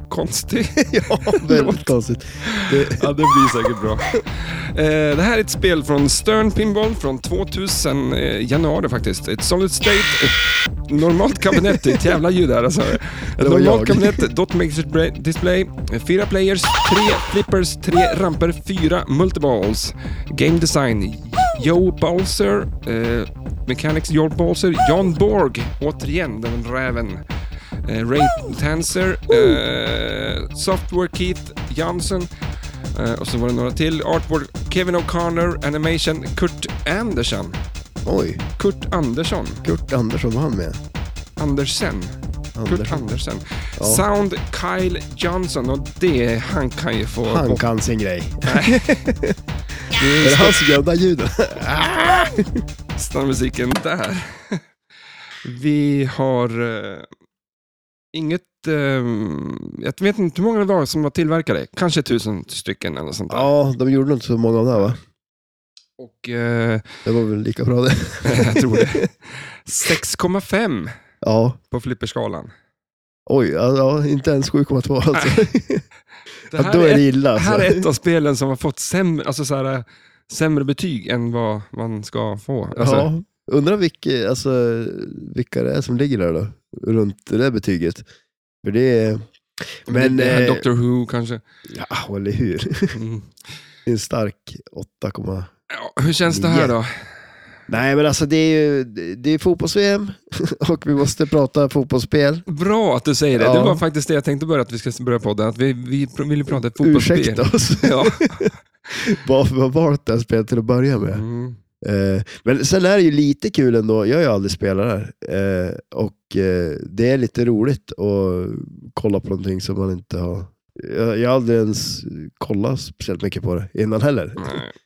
Speaker 1: Konstigt.
Speaker 2: Ja, väldigt konstigt. Det,
Speaker 1: Ja, det blir säkert bra. Eh, det här är ett spel från Stern Pinball från 2000, eh, januari faktiskt. Ett Solid State, ett normalt kabinett, det är ett jävla ljud här alltså. Ett
Speaker 2: Det var
Speaker 1: normalt
Speaker 2: jag.
Speaker 1: kabinett, Dot Mixer bra- Display, eh, fyra players, tre flippers, tre ramper, fyra multiballs. Game Design, Joe Balser, eh, Mechanics Joe Balser, John Borg, återigen den räven. Eh, Ray Tanser, eh, Software Keith Jansson, Eh, och så var det några till. Artboard Kevin O'Connor, Animation Kurt Andersson.
Speaker 2: oj,
Speaker 1: Kurt Andersson.
Speaker 2: Kurt Andersson var han med.
Speaker 1: Andersen. Kurt
Speaker 2: Andersson.
Speaker 1: Andersen.
Speaker 2: Ja.
Speaker 1: Sound Kyle Johnson och det, han kan ju få...
Speaker 2: Han
Speaker 1: bort-
Speaker 2: kan sin grej. Är det han som gör de där ljuden?
Speaker 1: Stanna musiken där. Vi har eh, inget... Eh, jag vet inte hur många det var som var tillverkade. Kanske tusen stycken eller sånt där.
Speaker 2: Ja, de gjorde inte så många av det här, va?
Speaker 1: Och eh,
Speaker 2: Det var väl lika bra det.
Speaker 1: jag tror det. 6,5
Speaker 2: Ja,
Speaker 1: på flipperskalan.
Speaker 2: oj, ja, ja, inte ens 7,2 alltså.
Speaker 1: Det
Speaker 2: Ja,
Speaker 1: här
Speaker 2: då
Speaker 1: är
Speaker 2: är
Speaker 1: ett-
Speaker 2: det illa
Speaker 1: Det här
Speaker 2: alltså.
Speaker 1: är ett av spelen som har fått sämre, alltså så här, sämre betyg än vad man ska få. Alltså,
Speaker 2: Ja, undrar vilka, alltså, vilka det är som ligger där då, runt det där betyget. För det är... Men...
Speaker 1: det här
Speaker 2: eh,
Speaker 1: Doctor Who kanske.
Speaker 2: Ja, eller hur?
Speaker 1: Mm.
Speaker 2: Det är En stark 8,
Speaker 1: Ja, hur känns det här då?
Speaker 2: Nej, men alltså det är ju det är fotbolls-VM och vi måste prata fotbollsspel.
Speaker 1: Bra att du säger det.
Speaker 2: Ja.
Speaker 1: Det var faktiskt det jag tänkte börja, att vi ska börja podden. Att vi, vi pr- ville prata fotbollsspel.
Speaker 2: Ursäkta oss
Speaker 1: Ja.
Speaker 2: varför vi har valt det här spelet till att börja med.
Speaker 1: Mm.
Speaker 2: Eh, Men sen är det ju lite kul ändå. Jag har ju aldrig spelat där. Eh, Och eh, det är lite roligt att kolla på någonting som man inte har... Jag jag har aldrig ens kollat speciellt mycket på det innan heller.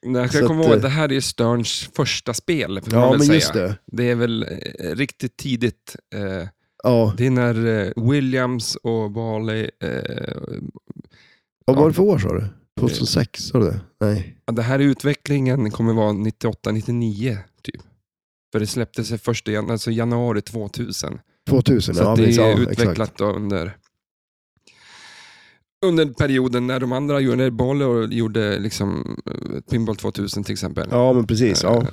Speaker 1: Nej,
Speaker 2: Så
Speaker 1: jag kommer
Speaker 2: att,
Speaker 1: ihåg
Speaker 2: eh,
Speaker 1: att det här är Sterns första spel, får man
Speaker 2: Ja,
Speaker 1: väl
Speaker 2: men
Speaker 1: säga.
Speaker 2: just det.
Speaker 1: Det är väl eh, riktigt tidigt. Eh,
Speaker 2: Ja.
Speaker 1: det är när eh, Williams och Barley... Eh,
Speaker 2: Vad var
Speaker 1: Ja. Eh.
Speaker 2: det för år sa du? 2006? Sa du det? Nej.
Speaker 1: ja, det här utvecklingen kommer vara 98-99, typ. För det släpptes i första jan- alltså januari 2000.
Speaker 2: 2000?
Speaker 1: Så
Speaker 2: ja,
Speaker 1: att det
Speaker 2: precis.
Speaker 1: är
Speaker 2: ja, Exakt.
Speaker 1: utvecklat då under, under perioden när de andra gjorde, när Barley och gjorde liksom, eh, Pinball 2000 till exempel.
Speaker 2: Ja, men precis. Ja.
Speaker 1: Eh,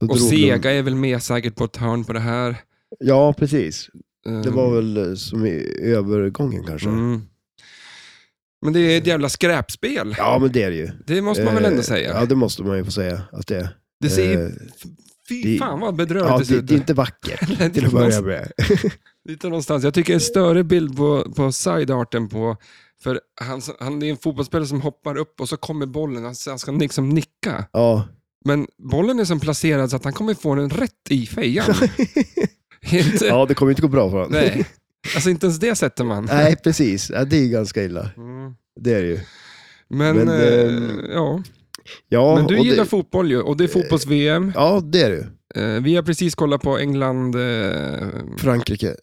Speaker 2: Då
Speaker 1: Och
Speaker 2: drog de-
Speaker 1: Sega är väl med säkert på ett hörn på det här.
Speaker 2: Ja, precis. Det
Speaker 1: Eh,
Speaker 2: var väl eh, som i övergången kanske.
Speaker 1: mm. Men det är ett jävla skräpspel.
Speaker 2: Ja, men det är det ju.
Speaker 1: Det måste man väl ändå
Speaker 2: Eh,
Speaker 1: säga.
Speaker 2: Ja, det måste man ju få säga att det är.
Speaker 1: det ser ju,
Speaker 2: eh,
Speaker 1: fy
Speaker 2: det-
Speaker 1: fan vad bedrövligt
Speaker 2: Ja, det,
Speaker 1: ut.
Speaker 2: det är inte vackert till att börja med.
Speaker 1: Lite någonstans. Jag tycker en större bild på, på sidearten på, för han, han det är en fotbollsspelare som hoppar upp och så kommer bollen, han, han ska liksom nicka.
Speaker 2: Ja,
Speaker 1: Men bollen är som placerad så att han kommer få den rätt i fejan. inte,
Speaker 2: ja det kommer inte gå bra för honom.
Speaker 1: Nej. Alltså inte ens det sätter man.
Speaker 2: Nej, precis. Ja, det är ju ganska illa.
Speaker 1: Mm.
Speaker 2: Det är det ju.
Speaker 1: Men,
Speaker 2: Men,
Speaker 1: eh,
Speaker 2: ehm,
Speaker 1: ja.
Speaker 2: Ja,
Speaker 1: Men du
Speaker 2: och
Speaker 1: gillar
Speaker 2: det,
Speaker 1: fotboll ju och det är fotbolls-VM.
Speaker 2: Ja, det är det ju.
Speaker 1: Eh, Vi har precis kollat på England eh,
Speaker 2: Frankrike.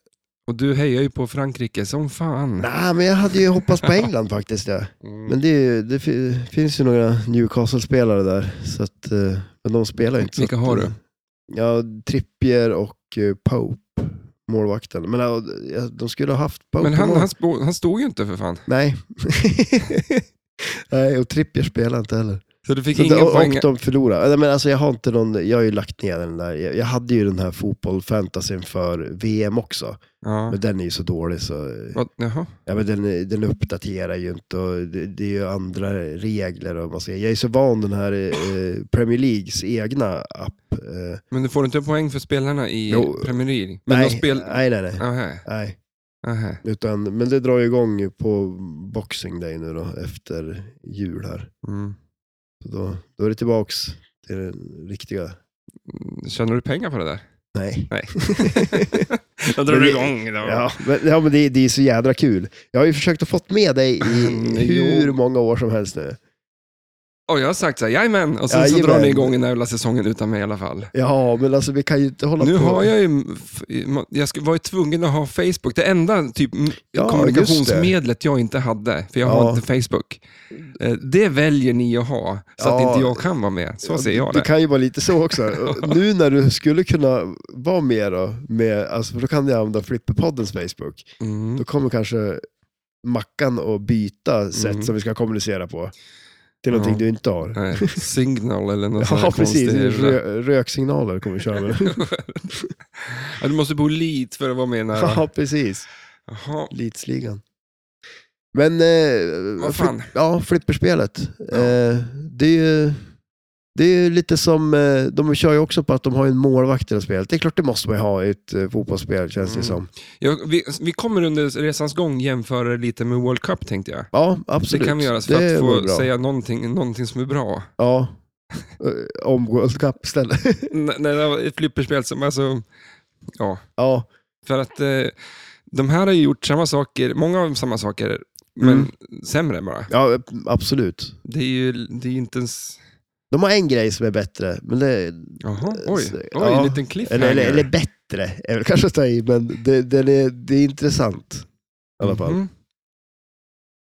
Speaker 1: och du hejar ju på Frankrike som fan.
Speaker 2: Nej, men jag hade ju hoppats på England faktiskt. Ja.
Speaker 1: Mm.
Speaker 2: Men det, är ju- det fi- finns ju några Newcastle-spelare där, så att, eh, men de spelar ju inte. så
Speaker 1: Vilka
Speaker 2: att,
Speaker 1: har
Speaker 2: eh,
Speaker 1: du?
Speaker 2: Ja, Trippier och eh, Pope, målvakten. Men ja, de skulle ha haft Pope
Speaker 1: Men
Speaker 2: på
Speaker 1: han,
Speaker 2: mål.
Speaker 1: han, spå- han stod ju inte för fan.
Speaker 2: Nej. Nej, och Trippier spelar inte heller.
Speaker 1: Så du fick
Speaker 2: Så
Speaker 1: ingen
Speaker 2: det, och,
Speaker 1: poäng.
Speaker 2: och de förlorade. Nej, men alltså, jag, har inte någon, jag har ju lagt ner den där. Jag, jag hade ju den här fotboll-fantasyn för VM också.
Speaker 1: Ja.
Speaker 2: Men den är ju så dålig så... eh,
Speaker 1: Vad- Jaha.
Speaker 2: Ja, men den, den uppdaterar ju inte och det, det är ju andra regler. Och man säger. Jag är så van den här eh, Premier Leagues egna app. Eh,
Speaker 1: Men du får inte poäng för spelarna i
Speaker 2: Jo.
Speaker 1: Premier League? Men
Speaker 2: nej,
Speaker 1: de spel...
Speaker 2: nej, nej, nej.
Speaker 1: Aha,
Speaker 2: nej.
Speaker 1: aha.
Speaker 2: Utan, men det drar ju igång på Boxing Day nu då, efter jul här.
Speaker 1: Mm.
Speaker 2: Så då, då är det tillbaks till den riktiga.
Speaker 1: Tjänar du pengar på det där?
Speaker 2: Nej.
Speaker 1: Nej. Då drar
Speaker 2: Men
Speaker 1: du
Speaker 2: det-
Speaker 1: igång. Då.
Speaker 2: Ja, men, ja, men det, det är så jädra kul. Jag har ju försökt att fått med dig i
Speaker 1: Jo.
Speaker 2: hur många år som helst nu.
Speaker 1: Och jag har sagt så här, jajamän, och sen så
Speaker 2: Jajamän.
Speaker 1: drar ni igång den här jävla säsongen utan mig i alla fall.
Speaker 2: Ja, men alltså vi kan ju inte hålla
Speaker 1: Nu
Speaker 2: på.
Speaker 1: har jag ju, f- jag sk- var ju tvungen att ha Facebook. Det enda typ m-
Speaker 2: Ja,
Speaker 1: kommunikationsmedlet jag inte hade, för jag har
Speaker 2: Ja.
Speaker 1: inte Facebook. Eh, Det väljer ni att ha, så att
Speaker 2: Ja.
Speaker 1: inte jag kan vara med. Så ser jag
Speaker 2: det.
Speaker 1: det.
Speaker 2: Det kan ju vara lite så också. nu när du skulle kunna vara med då, med, alltså, för då kan jag använda Flipperpoddens Facebook.
Speaker 1: Mm.
Speaker 2: Då kommer kanske Mackan att byta sätt som vi ska kommunicera på till någonting
Speaker 1: Mm. Ja.
Speaker 2: du inte har.
Speaker 1: Nej, Signal eller något sånt
Speaker 2: Ja,
Speaker 1: här
Speaker 2: precis.
Speaker 1: konstigt.
Speaker 2: Rö röksignaler kommer vi köra med.
Speaker 1: Ja, Du måste bo lit för att vara med när...
Speaker 2: ja, precis.
Speaker 1: Jaha.
Speaker 2: Lidsligan. Men, eh,
Speaker 1: Vad fan.
Speaker 2: flipp- ja, flipperspelet. Eh, det är ju... Det är ju lite som, eh, de kör ju också på att de har ju en målvakt i det här spelet. Det är klart det måste man ju ha i ett eh, fotbollsspel känns det
Speaker 1: Mm.
Speaker 2: som.
Speaker 1: Jag, vi, vi kommer under resans gång jämföra det lite med World Cup tänkte jag.
Speaker 2: Ja, absolut.
Speaker 1: Det kan vi göra för
Speaker 2: Det
Speaker 1: att
Speaker 2: vore
Speaker 1: få
Speaker 2: bra.
Speaker 1: säga någonting, någonting som är bra.
Speaker 2: Ja. Eh, Om World Cup istället.
Speaker 1: N- När det var ett flipperspel som, alltså, ja.
Speaker 2: ja,
Speaker 1: För att eh, de här har ju gjort samma saker, många av dem samma saker, men
Speaker 2: Mm.
Speaker 1: sämre bara.
Speaker 2: ja, eh, absolut.
Speaker 1: Det är ju det är ju inte ens...
Speaker 2: De har en grej som är bättre, men det,
Speaker 1: Jaha, oj,
Speaker 2: Eh, Så-
Speaker 1: oj,
Speaker 2: ja.
Speaker 1: en liten cliffhanger.
Speaker 2: eller, eller, eller bättre är väl kanske att ta i, men det, den är, det är intressant. I alla fall.
Speaker 1: Mhm.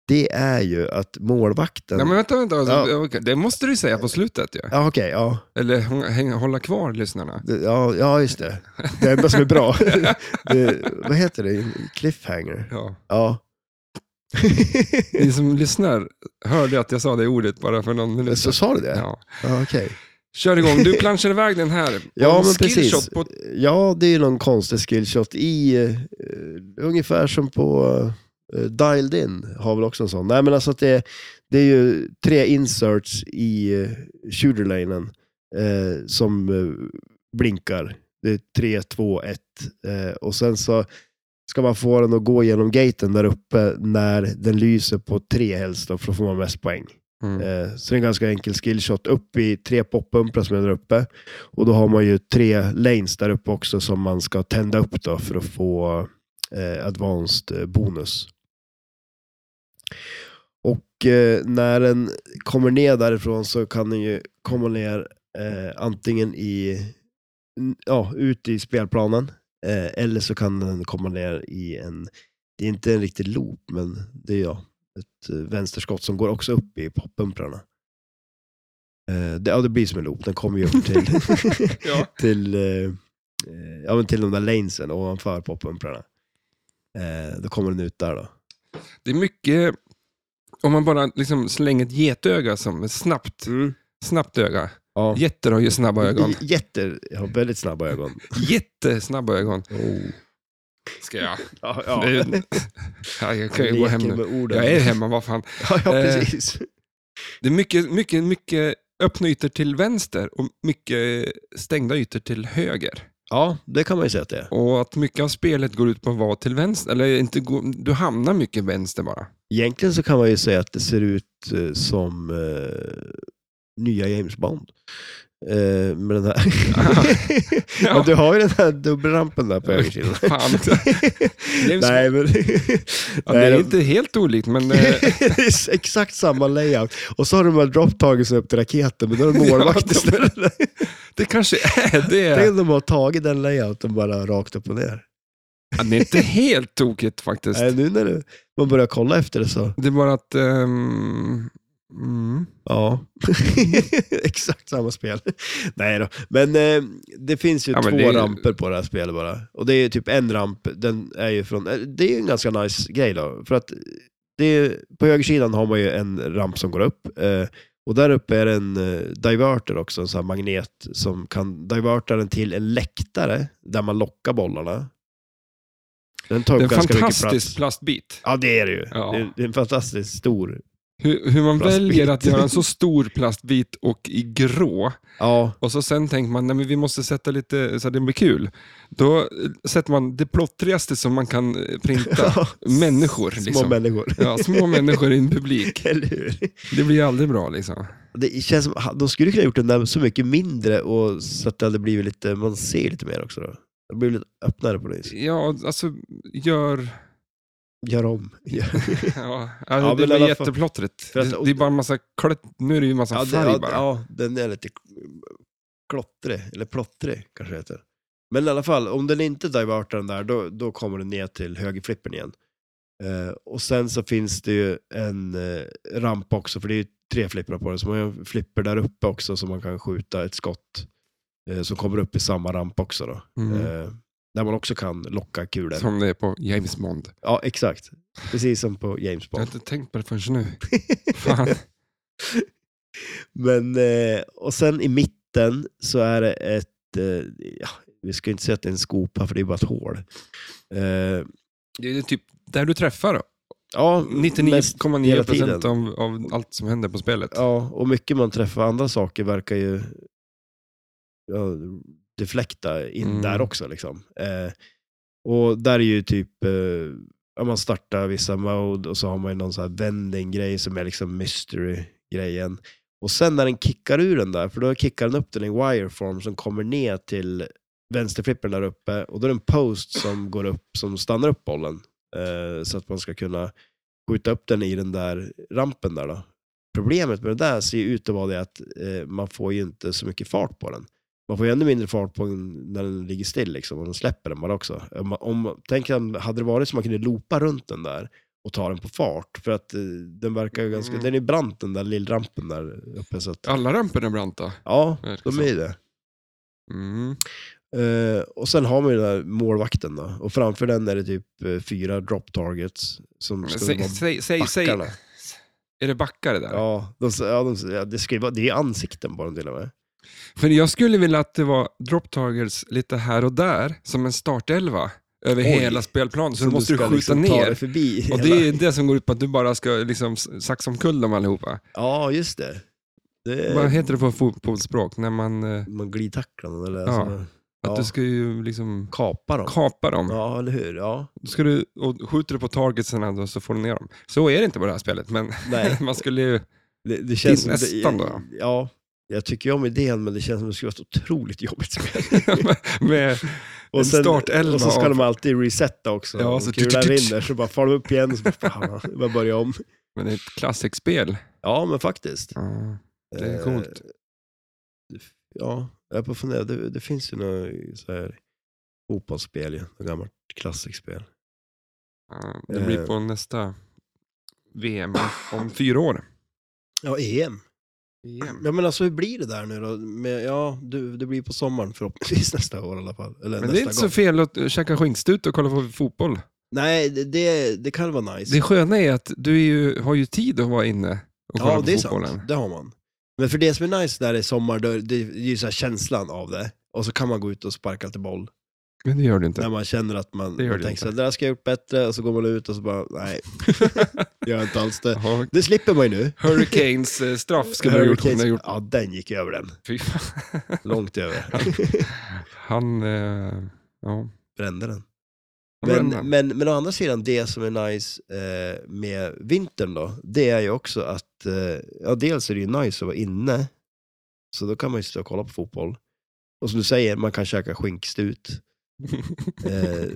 Speaker 2: Det är ju att målvakten...
Speaker 1: Ja, men vänta, vänta.
Speaker 2: Ja.
Speaker 1: Okej, Det måste du säga på slutet ju.
Speaker 2: Ja, okej. ja.
Speaker 1: Eller hå- häng, hålla kvar lyssnarna.
Speaker 2: Det- Ja, ja, just det. Det enda som är bra. det, vad heter det? Cliffhanger?
Speaker 1: Ja.
Speaker 2: Ja.
Speaker 1: Ni som lyssnar hörde att jag sa det ordet bara för någon minut
Speaker 2: Så sa du det? Ja,
Speaker 1: Ja.
Speaker 2: okej.
Speaker 1: Kör igång, du planschar iväg den här.
Speaker 2: Ja,
Speaker 1: Och
Speaker 2: men
Speaker 1: skillshot
Speaker 2: precis.
Speaker 1: På...
Speaker 2: Ja, det är ju någon konstig skillshot i, eh, ungefär som på eh, Dialed In, har väl också en sån. Nej, men alltså att det, det är ju tre inserts i eh, shooterlanen eh, som eh, blinkar. Det är 3, 2, 1 eh, och sen så ska man få den att gå genom gaten där uppe när den lyser på tre helst, då, för då får man mest poäng.
Speaker 1: Mm.
Speaker 2: Eh, så det är en ganska enkel skillshot. Upp i tre poppumprar som är där uppe. Och då har man ju tre lanes där uppe också som man ska tända upp då för att få eh, advanced eh, bonus. Och eh, när den kommer ner därifrån så kan den ju komma ner eh, antingen i, n- ja, ut i spelplanen eh, eller så kan den komma ner i en, det är inte en riktig loop, men det är ja, ett eh, vänsterskott som går också upp i poppumprarna. Eh, det, ja, det blir som en loop, den kommer ju upp till,
Speaker 1: Ja.
Speaker 2: till, eh, eh, ja, men till de där lanesen ovanför poppumprarna. Eh, då kommer den ut där då.
Speaker 1: Det är mycket, om man bara liksom slänger ett getöga som ett snabbt, snabbt öga.
Speaker 2: Mm. Ja.
Speaker 1: Getter har ju snabba ögon.
Speaker 2: J- Jätter jag har väldigt snabba ögon.
Speaker 1: Jättesnabba ögon. Ska jag?
Speaker 2: Ja,
Speaker 1: Oh. Det är- Ja, jag kan ju gå
Speaker 2: Leker
Speaker 1: hem nu.
Speaker 2: med orden.
Speaker 1: Jag är hemma, vad fan.
Speaker 2: Ja, ja,
Speaker 1: Eh,
Speaker 2: precis.
Speaker 1: Det är mycket, mycket, mycket öppna ytor till vänster och mycket stängda ytor till höger.
Speaker 2: Ja, det kan man ju säga att det är.
Speaker 1: Och att mycket av spelet går ut på att vara till vänster, eller inte gå, du hamnar mycket vänster bara.
Speaker 2: Egentligen så kan man ju säga att det ser ut eh, som eh, nya James Bond. Eh, med den här. ja, du har ju den här dubbelrampen där på högersidan.
Speaker 1: Fan också. James
Speaker 2: Nej, men...
Speaker 1: Ja, det är
Speaker 2: Nej,
Speaker 1: inte helt olikt, men eh,
Speaker 2: det är exakt samma layout. Och så har de här dropptagelserna upp till raketen, men då är det målvakt
Speaker 1: Ja, de-
Speaker 2: istället.
Speaker 1: det kanske är
Speaker 2: Tänk
Speaker 1: det.
Speaker 2: om de har tagit den layouten bara rakt upp och ner.
Speaker 1: Ja, det är inte helt tokigt faktiskt.
Speaker 2: Nej, nu när du, man börjar kolla efter det så,
Speaker 1: Det är bara att... ehm, mm.
Speaker 2: ja. Exakt samma spel. Nej då, men eh, det finns ju
Speaker 1: Ja, men
Speaker 2: två
Speaker 1: det är ju-
Speaker 2: ramper på det här spelet bara. Och det är ju typ en ramp, den är ju från, eh, det är ju en ganska nice grej då. För att det är, på högersidan har man ju en ramp som går upp. Eh, och där uppe är det en eh, diverter också, en sån här magnet som kan diverta den till en läktare där man lockar bollarna. Den tar
Speaker 1: Det
Speaker 2: upp
Speaker 1: är en
Speaker 2: ganska mycket
Speaker 1: fantastisk
Speaker 2: plats.
Speaker 1: plastbit.
Speaker 2: Ja, det är det ju.
Speaker 1: Ja.
Speaker 2: Det är- Det är en fantastiskt stor.
Speaker 1: Hur, hur man
Speaker 2: Plastbit.
Speaker 1: väljer att göra en så stor plastbit och i grå,
Speaker 2: Ja,
Speaker 1: och så sen tänker man nej men vi måste sätta lite så att det blir kul. Då eh, sätter man det plottrigaste som man kan eh, printa. människor.
Speaker 2: Små
Speaker 1: liksom.
Speaker 2: människor.
Speaker 1: Ja, små människor i en publik.
Speaker 2: Eller hur?
Speaker 1: Det blir aldrig bra liksom.
Speaker 2: Det känns som, de skulle kunna gjort den där så mycket mindre och så att det hade blivit lite, man ser lite mer också då. Det blir lite öppnare på det viset.
Speaker 1: Ja, alltså gör...
Speaker 2: Gör om. Gör-
Speaker 1: Ja,
Speaker 2: Ja,
Speaker 1: alltså,
Speaker 2: men i
Speaker 1: det blir
Speaker 2: alla fall-
Speaker 1: jätteplottrigt.
Speaker 2: För att-
Speaker 1: Det, det är bara en massa klött... Nu är det ju en massa
Speaker 2: Ja, det,
Speaker 1: färg
Speaker 2: ja,
Speaker 1: bara.
Speaker 2: ja, den är lite klottrig, eller plottrig kanske det heter. Men i alla fall, om den inte divertar den där, då, då kommer den ner till högerflippen igen. Eh, och sen så finns det ju en eh, ramp också, för det är ju tre flipprar på den, så man har flipper där uppe också som man kan skjuta ett skott eh, som kommer upp i samma ramp också då.
Speaker 1: Mm.
Speaker 2: Eh, där man också kan locka kulor.
Speaker 1: Som det är på James Bond.
Speaker 2: Ja, exakt. Precis som på James
Speaker 1: Jag
Speaker 2: Bond.
Speaker 1: har inte tänkt på det förrän nu. Fan.
Speaker 2: Men, eh, och sen i mitten så är det ett, eh, ja, vi ska inte säga att det är en skopa för det är bara ett hål. Eh,
Speaker 1: Det är typ där du träffar då.
Speaker 2: ja, mest- hela
Speaker 1: 99,9
Speaker 2: tiden.
Speaker 1: procent av, av allt som händer på spelet.
Speaker 2: Ja, och mycket man träffar andra saker verkar ju ja, deflekta in
Speaker 1: Mm.
Speaker 2: där också. Liksom. Eh, och där är ju typ, eh, ja, man startar vissa mode och så har man ju någon sån här vending-grej som är liksom mystery-grejen. Och sen när den kickar ur den där, för då kickar den upp den i wireform som kommer ner till vänsterflippen där uppe och då är det en post som går upp som stannar upp bollen eh, så att man ska kunna skjuta upp den i den där rampen där då. Problemet med det där ser ju ut att vara det att eh, man får ju inte så mycket fart på den. Man får ju ännu mindre fart på den när den ligger still liksom, och den släpper den bara också. Om, man- om, tänk om hade det varit så man kunde loopa runt den där och ta den på fart, för att eh, den verkar ju ganska,
Speaker 1: Mm.
Speaker 2: den är brant den där lillrampen där uppe. Så att,
Speaker 1: Alla ramper är branta.
Speaker 2: ja,
Speaker 1: verkar
Speaker 2: de
Speaker 1: så.
Speaker 2: är ju det.
Speaker 1: Mm.
Speaker 2: Eh, och sen har man ju den här målvakten då. Och framför den är det typ eh, fyra drop targets som
Speaker 1: Men
Speaker 2: ska
Speaker 1: Säg,
Speaker 2: vara
Speaker 1: säg, säg, säg.
Speaker 2: backarna.
Speaker 1: Är det backar det där?
Speaker 2: Ja, de, ja, de, ja det, ska ju vara, det är ansikten på dem till och med.
Speaker 1: För jag skulle vilja att det var drop targets lite här och där, som en startelva över
Speaker 2: Oj.
Speaker 1: hela spelplanen. Så, måste du
Speaker 2: ska
Speaker 1: skjuta
Speaker 2: liksom ta dig
Speaker 1: ner.
Speaker 2: förbi.
Speaker 1: Och
Speaker 2: hela-
Speaker 1: det är det som går ut på att du bara ska liksom s- saxa omkull dem allihopa.
Speaker 2: Ja, just det. det
Speaker 1: Vad
Speaker 2: är,
Speaker 1: heter det på fotbollsspråk? När man, eh, att
Speaker 2: man glidtacklar dem eller
Speaker 1: Ja.
Speaker 2: alltså, Ja.
Speaker 1: du ska ju liksom
Speaker 2: kapar dem.
Speaker 1: kapa dem.
Speaker 2: Ja, eller hur? Ja,
Speaker 1: Då Ska du, och skjuter du på targetsen då så får du ner dem. Så är det inte på det här spelet, men
Speaker 2: nej.
Speaker 1: man skulle ju...
Speaker 2: Det, det känns
Speaker 1: Det är
Speaker 2: som-
Speaker 1: nästan då, ja.
Speaker 2: Ja, jag tycker ju om idén, men det känns som det skulle vara ett otroligt jobbigt spel.
Speaker 1: Med en startelva
Speaker 2: Och så ska
Speaker 1: av-
Speaker 2: de alltid resetta också.
Speaker 1: Ja,
Speaker 2: Ja,
Speaker 1: så
Speaker 2: så
Speaker 1: tut,
Speaker 2: kulan
Speaker 1: tut, tut.
Speaker 2: rinner, så bara far de upp igen, så bara, fan, jag bara börja om.
Speaker 1: Men det är ett klassikspel.
Speaker 2: Ja, men faktiskt.
Speaker 1: Ja, det är coolt.
Speaker 2: Ja, jag är på att fundera. Det, det finns ju några så här fotbollsspel, ju. Något gammalt klassikspel.
Speaker 1: Ja, Det
Speaker 2: Eh.
Speaker 1: blir på nästa VM om fyra år.
Speaker 2: Ja, EM. Ja, men alltså hur blir det där nu då? Med, ja, du, det blir på sommaren förhoppningsvis nästa år i alla fall. Eller
Speaker 1: Men
Speaker 2: nästa
Speaker 1: det är inte så
Speaker 2: gång.
Speaker 1: fel att eh, käka skinkstut och kolla på fotboll.
Speaker 2: Nej, det, det, det kan vara nice.
Speaker 1: Det sköna är att du är ju, har ju tid att vara inne och kolla
Speaker 2: ja,
Speaker 1: på
Speaker 2: det är
Speaker 1: fotbollen.
Speaker 2: sant. Det har man. Men för det som är nice där i sommar, då, det är ju så här känslan av det. Och så kan man gå ut och sparka lite boll.
Speaker 1: Men det gör du inte.
Speaker 2: När man känner att man,
Speaker 1: Det gör
Speaker 2: man
Speaker 1: det
Speaker 2: tänker
Speaker 1: inte.
Speaker 2: så här, det där ska jag gjort bättre. Och så går man ut och så bara, nej, gör inte alls det.
Speaker 1: Jaha.
Speaker 2: Det slipper man ju nu.
Speaker 1: Hurricanes eh, straff skulle du ha gjort. Hon
Speaker 2: Hurricanes-
Speaker 1: har gjort.
Speaker 2: Ja, den gick över den.
Speaker 1: Fy fan.
Speaker 2: Långt över.
Speaker 1: Han, eh, ja.
Speaker 2: Brände den. Men,
Speaker 1: Men, men,
Speaker 2: men, men å andra sidan, det som är nice eh, med vintern då, det är ju också att, eh, ja dels är det ju nice att vara inne, så då kan man ju stå och kolla på fotboll. Och som du säger, man kan käka skinkstut. Eh,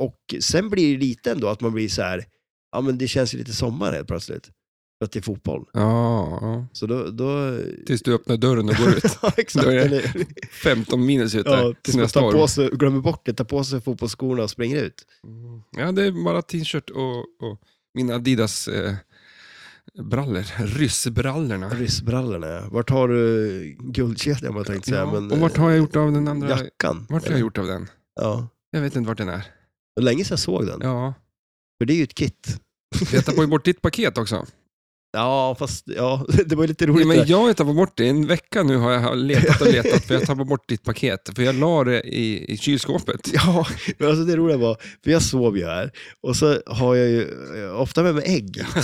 Speaker 2: och sen blir det lite ändå att man blir så här, ja men det känns ju lite sommar helt plötsligt. För att det är fotboll.
Speaker 1: ja, ja.
Speaker 2: Så då... då...
Speaker 1: Tills du öppnar dörren och går ut.
Speaker 2: ja, exakt.
Speaker 1: Då är det-
Speaker 2: eller-
Speaker 1: 15 minus ute.
Speaker 2: Ja,
Speaker 1: tills
Speaker 2: tills man
Speaker 1: nästa
Speaker 2: tar
Speaker 1: år.
Speaker 2: på sig, glömmer bort det, tar på sig fotbollsskorna och springer ut.
Speaker 1: Mm. Ja, det är bara t-shirt och, och mina Adidas eh, brallor. Ryssbrallorna.
Speaker 2: Ryssbrallorna, ja. Vart har du guldkedjan, vad jag tänkte säga.
Speaker 1: Ja,
Speaker 2: men, eh,
Speaker 1: och vart har jag gjort av den andra?
Speaker 2: Jackan.
Speaker 1: Vart har jag gjort av den?
Speaker 2: Ja.
Speaker 1: Jag vet inte vart den är.
Speaker 2: Det var länge sedan jag såg den.
Speaker 1: Ja,
Speaker 2: För det är ju ett kit.
Speaker 1: jag tappade ju bort ditt paket också.
Speaker 2: Ja, fast ja, det var ju lite
Speaker 1: Ja,
Speaker 2: roligt.
Speaker 1: men
Speaker 2: där.
Speaker 1: jag har ju tappat bort det. En vecka nu har jag letat och letat för jag tappade bort ditt paket. För jag la det i, i kylskåpet.
Speaker 2: Ja, men alltså det roliga var, för jag sov ju här och så har jag ju eh, ofta med mig ägg.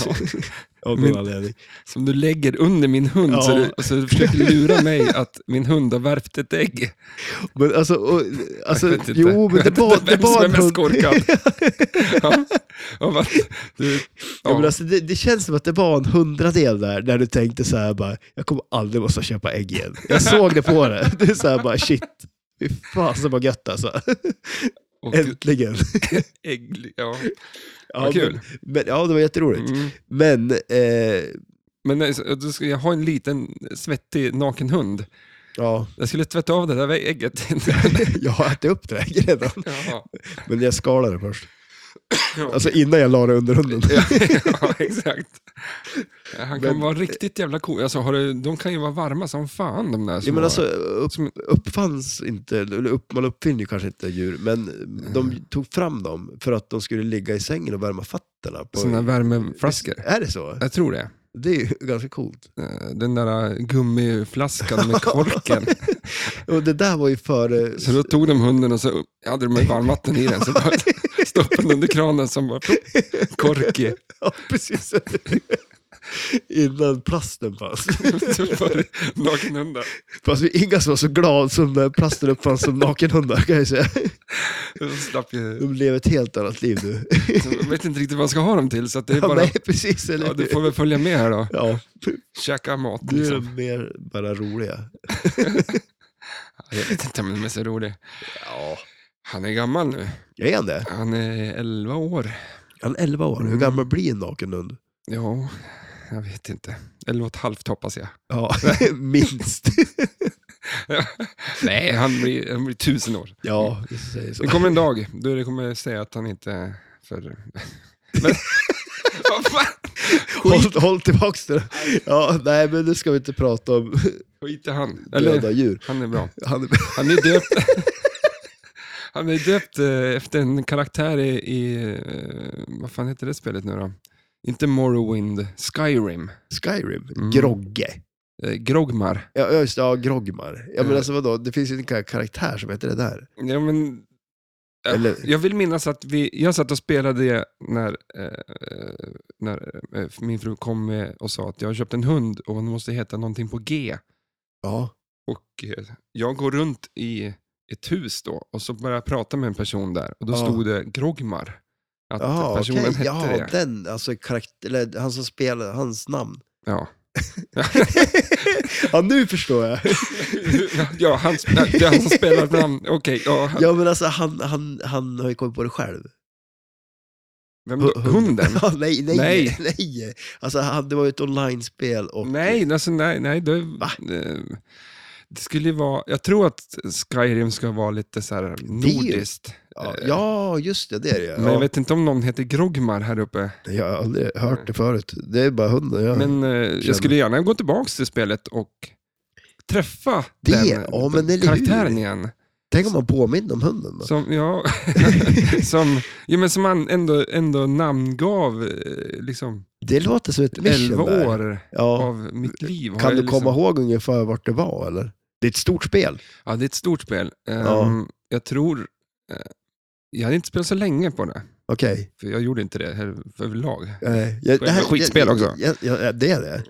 Speaker 2: Av någon
Speaker 1: Men-
Speaker 2: anledning.
Speaker 1: Som du lägger under min hund. Så,
Speaker 2: Ja.
Speaker 1: du, och så du försöker lura mig att min hund har värpt ett ägg.
Speaker 2: Men alltså, och, alltså
Speaker 1: Jag vet inte.
Speaker 2: jo, men
Speaker 1: Jag
Speaker 2: det
Speaker 1: vet
Speaker 2: var,
Speaker 1: inte
Speaker 2: det
Speaker 1: vem som
Speaker 2: var
Speaker 1: är
Speaker 2: en
Speaker 1: mest
Speaker 2: hund.
Speaker 1: korkad. ja. Ja, va? du,
Speaker 2: Ja, men
Speaker 1: ja.
Speaker 2: alltså, det, det känns som att det var en hundradel där, när du tänkte så här bara, jag kommer aldrig måste köpa ägg igen. Jag såg det på det. Det är så här bara, shit. Fy fasen vad gött alltså.
Speaker 1: Och
Speaker 2: Äntligen.
Speaker 1: ägg, ja.
Speaker 2: Ja,
Speaker 1: Vad kul.
Speaker 2: Men, men, ja, det var jätteroligt.
Speaker 1: Mm.
Speaker 2: Men, eh,
Speaker 1: Men nej, så- då ska jag har en liten svettig naken hund.
Speaker 2: ja,
Speaker 1: Jag skulle tvätta av det där ägget.
Speaker 2: jag har ätit upp det där redan.
Speaker 1: ja,
Speaker 2: Men jag skalade det först. Alltså innan jag la det under hunden.
Speaker 1: ja, exakt. Han kan
Speaker 2: Men- eh,
Speaker 1: vara riktigt jävla cool. Alltså, har du, de kan ju vara varma som fan de där
Speaker 2: Ja,
Speaker 1: små.
Speaker 2: men alltså, upp,
Speaker 1: Som-
Speaker 2: uppfanns inte, eller upp, man uppfinner ju kanske inte djur, men
Speaker 1: Mm.
Speaker 2: de tog fram dem för att de skulle ligga i sängen och värma fötterna. På,
Speaker 1: Såna värmeflaskor.
Speaker 2: Är det så?
Speaker 1: Jag tror det.
Speaker 2: Det är ju ganska coolt.
Speaker 1: Eh, Den där gummiflaskan med korken.
Speaker 2: Och det där var ju före...
Speaker 1: Så då tog de hunden och så hade de med varmvatten i den. Så bara stoppade den under kranen som bara plopp, kork i.
Speaker 2: Ja, precis. Innan plasten fanns.
Speaker 1: Så var det Nakenhundar.
Speaker 2: Fast vi inga som var så glada som när plasten uppfanns som nakenhundar kan jag säga.
Speaker 1: De slapp ju-
Speaker 2: De lever ett helt annat liv nu.
Speaker 1: så Jag vet inte riktigt vad jag ska ha dem till. Så att det är
Speaker 2: Ja,
Speaker 1: bara,
Speaker 2: nej, precis. Eller?
Speaker 1: ja, du får väl följa med här då.
Speaker 2: ja,
Speaker 1: Käka mat
Speaker 2: nu är
Speaker 1: liksom.
Speaker 2: de mer bara roliga.
Speaker 1: Jag vet inte om de är så rolig.
Speaker 2: Ja,
Speaker 1: Han är gammal nu.
Speaker 2: jag är det.
Speaker 1: Han är 11 år.
Speaker 2: Han är 11 år. Hur
Speaker 1: Mm.
Speaker 2: gammal blir en naken hund?
Speaker 1: Ja, jag vet inte. 11 och ett halvt hoppas jag.
Speaker 2: Ja, minst.
Speaker 1: Nej, han blir, han blir tusen år.
Speaker 2: ja, vi säger så.
Speaker 1: Det kommer en dag då det kommer säga att han inte är för... Men... Vad fan? Skit,
Speaker 2: Håll, håll tillbaks det. Ja, nej, men nu ska vi inte prata om
Speaker 1: skit i han.
Speaker 2: döda
Speaker 1: Eller,
Speaker 2: djur.
Speaker 1: han är bra.
Speaker 2: Han är
Speaker 1: Han är döpt... Han är döpt eh, efter en karaktär i, i... eh, Vad fan heter det spelet nu då? Inte Morrowind, Skyrim.
Speaker 2: Skyrim.
Speaker 1: Mm.
Speaker 2: Grogge.
Speaker 1: Eh, Grogmar.
Speaker 2: Ja, ja, just det. Ja, Grogmar. Ja, men
Speaker 1: Eh.
Speaker 2: alltså vadå? Det finns ju en kar- karaktär som heter det där.
Speaker 1: Ja, men, eh,
Speaker 2: Eller-
Speaker 1: Jag vill minnas att vi, jag satt och spelade det när, eh, eh, när eh, min fru kom med och sa att jag har köpt en hund och hon måste heta någonting på G.
Speaker 2: Ja.
Speaker 1: Och eh, jag går runt i ett hus då och så börjar jag prata med en person där och då
Speaker 2: Ja.
Speaker 1: stod det Grogmar. Att
Speaker 2: Ja,
Speaker 1: personen
Speaker 2: okej.
Speaker 1: hette
Speaker 2: Ja,
Speaker 1: det.
Speaker 2: den. Alltså karaktär, eller han som spelar, hans namn.
Speaker 1: Ja.
Speaker 2: ja, nu förstår jag.
Speaker 1: Ja, han, det är han som spelar namn. Okej, ja, han-
Speaker 2: Ja, men alltså han, han, han har ju kommit på det själv.
Speaker 1: vem då? Hunden?
Speaker 2: Ja, nej, nej,
Speaker 1: Nej.
Speaker 2: nej, nej. Alltså han, det var ju ett online-spel och...
Speaker 1: Nej, alltså, nej, nej. Det, eh, det skulle ju vara... Jag tror att Skyrim ska vara lite så här nordiskt.
Speaker 2: Ja, ja, just det, det är det
Speaker 1: Men jag
Speaker 2: ja.
Speaker 1: vet inte om någon heter Grogmar här uppe.
Speaker 2: Jag har aldrig hört det förut. Det är bara hunden. Ja.
Speaker 1: Men eh, jag skulle gärna gå tillbaka till spelet och träffa
Speaker 2: Det-
Speaker 1: den
Speaker 2: ja, men eller hur?
Speaker 1: karaktären igen.
Speaker 2: Tänk om man påminner om hunden då?
Speaker 1: Som, ja, som, ja, men som han ändå, ändå namngav eh, liksom,
Speaker 2: Det låter som ett mission
Speaker 1: 11
Speaker 2: där.
Speaker 1: år
Speaker 2: Ja.
Speaker 1: av mitt liv. har
Speaker 2: Kan
Speaker 1: jag
Speaker 2: du
Speaker 1: liksom,
Speaker 2: komma ihåg ungefär vart det var eller? Det är ett stort spel.
Speaker 1: Ja, det är ett stort spel. Ehm,
Speaker 2: Ja.
Speaker 1: Jag tror... eh, Jag hade inte spelat så länge på det,
Speaker 2: Okej.
Speaker 1: för jag gjorde inte det här överlag.
Speaker 2: Eh, jag- det här-
Speaker 1: Skitspel också.
Speaker 2: Jag, jag, jag, det är det.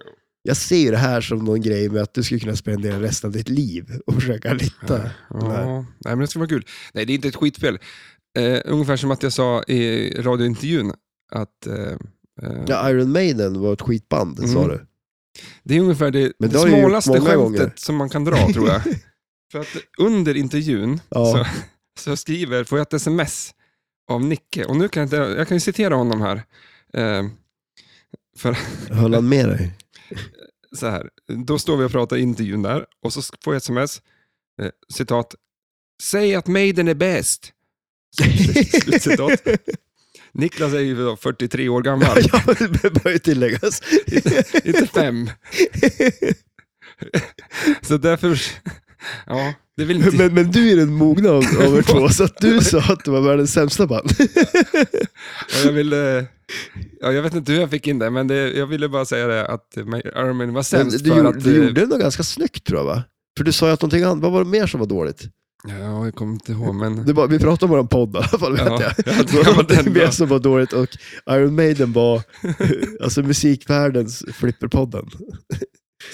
Speaker 2: Jag ser ju det här som någon grej med att du skulle kunna spendera resten av ditt liv och försöka hitta.
Speaker 1: Ja, nej. men det skulle vara kul. Nej, det är inte ett skitspel. Eh, ungefär som att jag sa i radiointervjun att eh, eh,
Speaker 2: Ja, Iron Maiden var ett skitband, sa
Speaker 1: Mm.
Speaker 2: du.
Speaker 1: det är ungefär det,
Speaker 2: Men
Speaker 1: det
Speaker 2: det har jag gjort
Speaker 1: smalaste
Speaker 2: många
Speaker 1: skämtet
Speaker 2: gånger.
Speaker 1: som man kan dra, tror jag. För att under intervjun
Speaker 2: Ja.
Speaker 1: så, så skriver, får jag ett sms av Nicke, och nu kan jag, inte, jag kan ju citera honom här. Eh, för
Speaker 2: Höll han med dig?
Speaker 1: så här, då står vi och pratar i intervjun där och så får jag ett sms, eh, citat, säg att Maiden är bäst. Slutcitat. Niklas är ju då 43 år gammal,
Speaker 2: ja, det bör ju tilläggas.
Speaker 1: inte fem. Så därför, ja, det vill inte...
Speaker 2: men, men du är den mogna av, av er två, så att du sa att du var världens sämsta band.
Speaker 1: ja, jag vill, eh, ja, jag vet inte hur jag fick in det, men det, jag ville bara säga det att Armin var
Speaker 2: Men
Speaker 1: sämst
Speaker 2: du,
Speaker 1: för
Speaker 2: gjorde,
Speaker 1: att...
Speaker 2: du
Speaker 1: eh,
Speaker 2: gjorde det nog ganska snyggt tror jag va? För du sa ju att någonting annat, vad var det mer som var dåligt?
Speaker 1: Ja, jag kommer inte ihåg, men...
Speaker 2: Det var, vi pratade om våran podd i alla fall, vet
Speaker 1: Ja,
Speaker 2: jag.
Speaker 1: ja,
Speaker 2: Det
Speaker 1: det var
Speaker 2: var
Speaker 1: den
Speaker 2: någonting mer
Speaker 1: då.
Speaker 2: som var dåligt och Iron Maiden var alltså musikvärldens flipperpodden.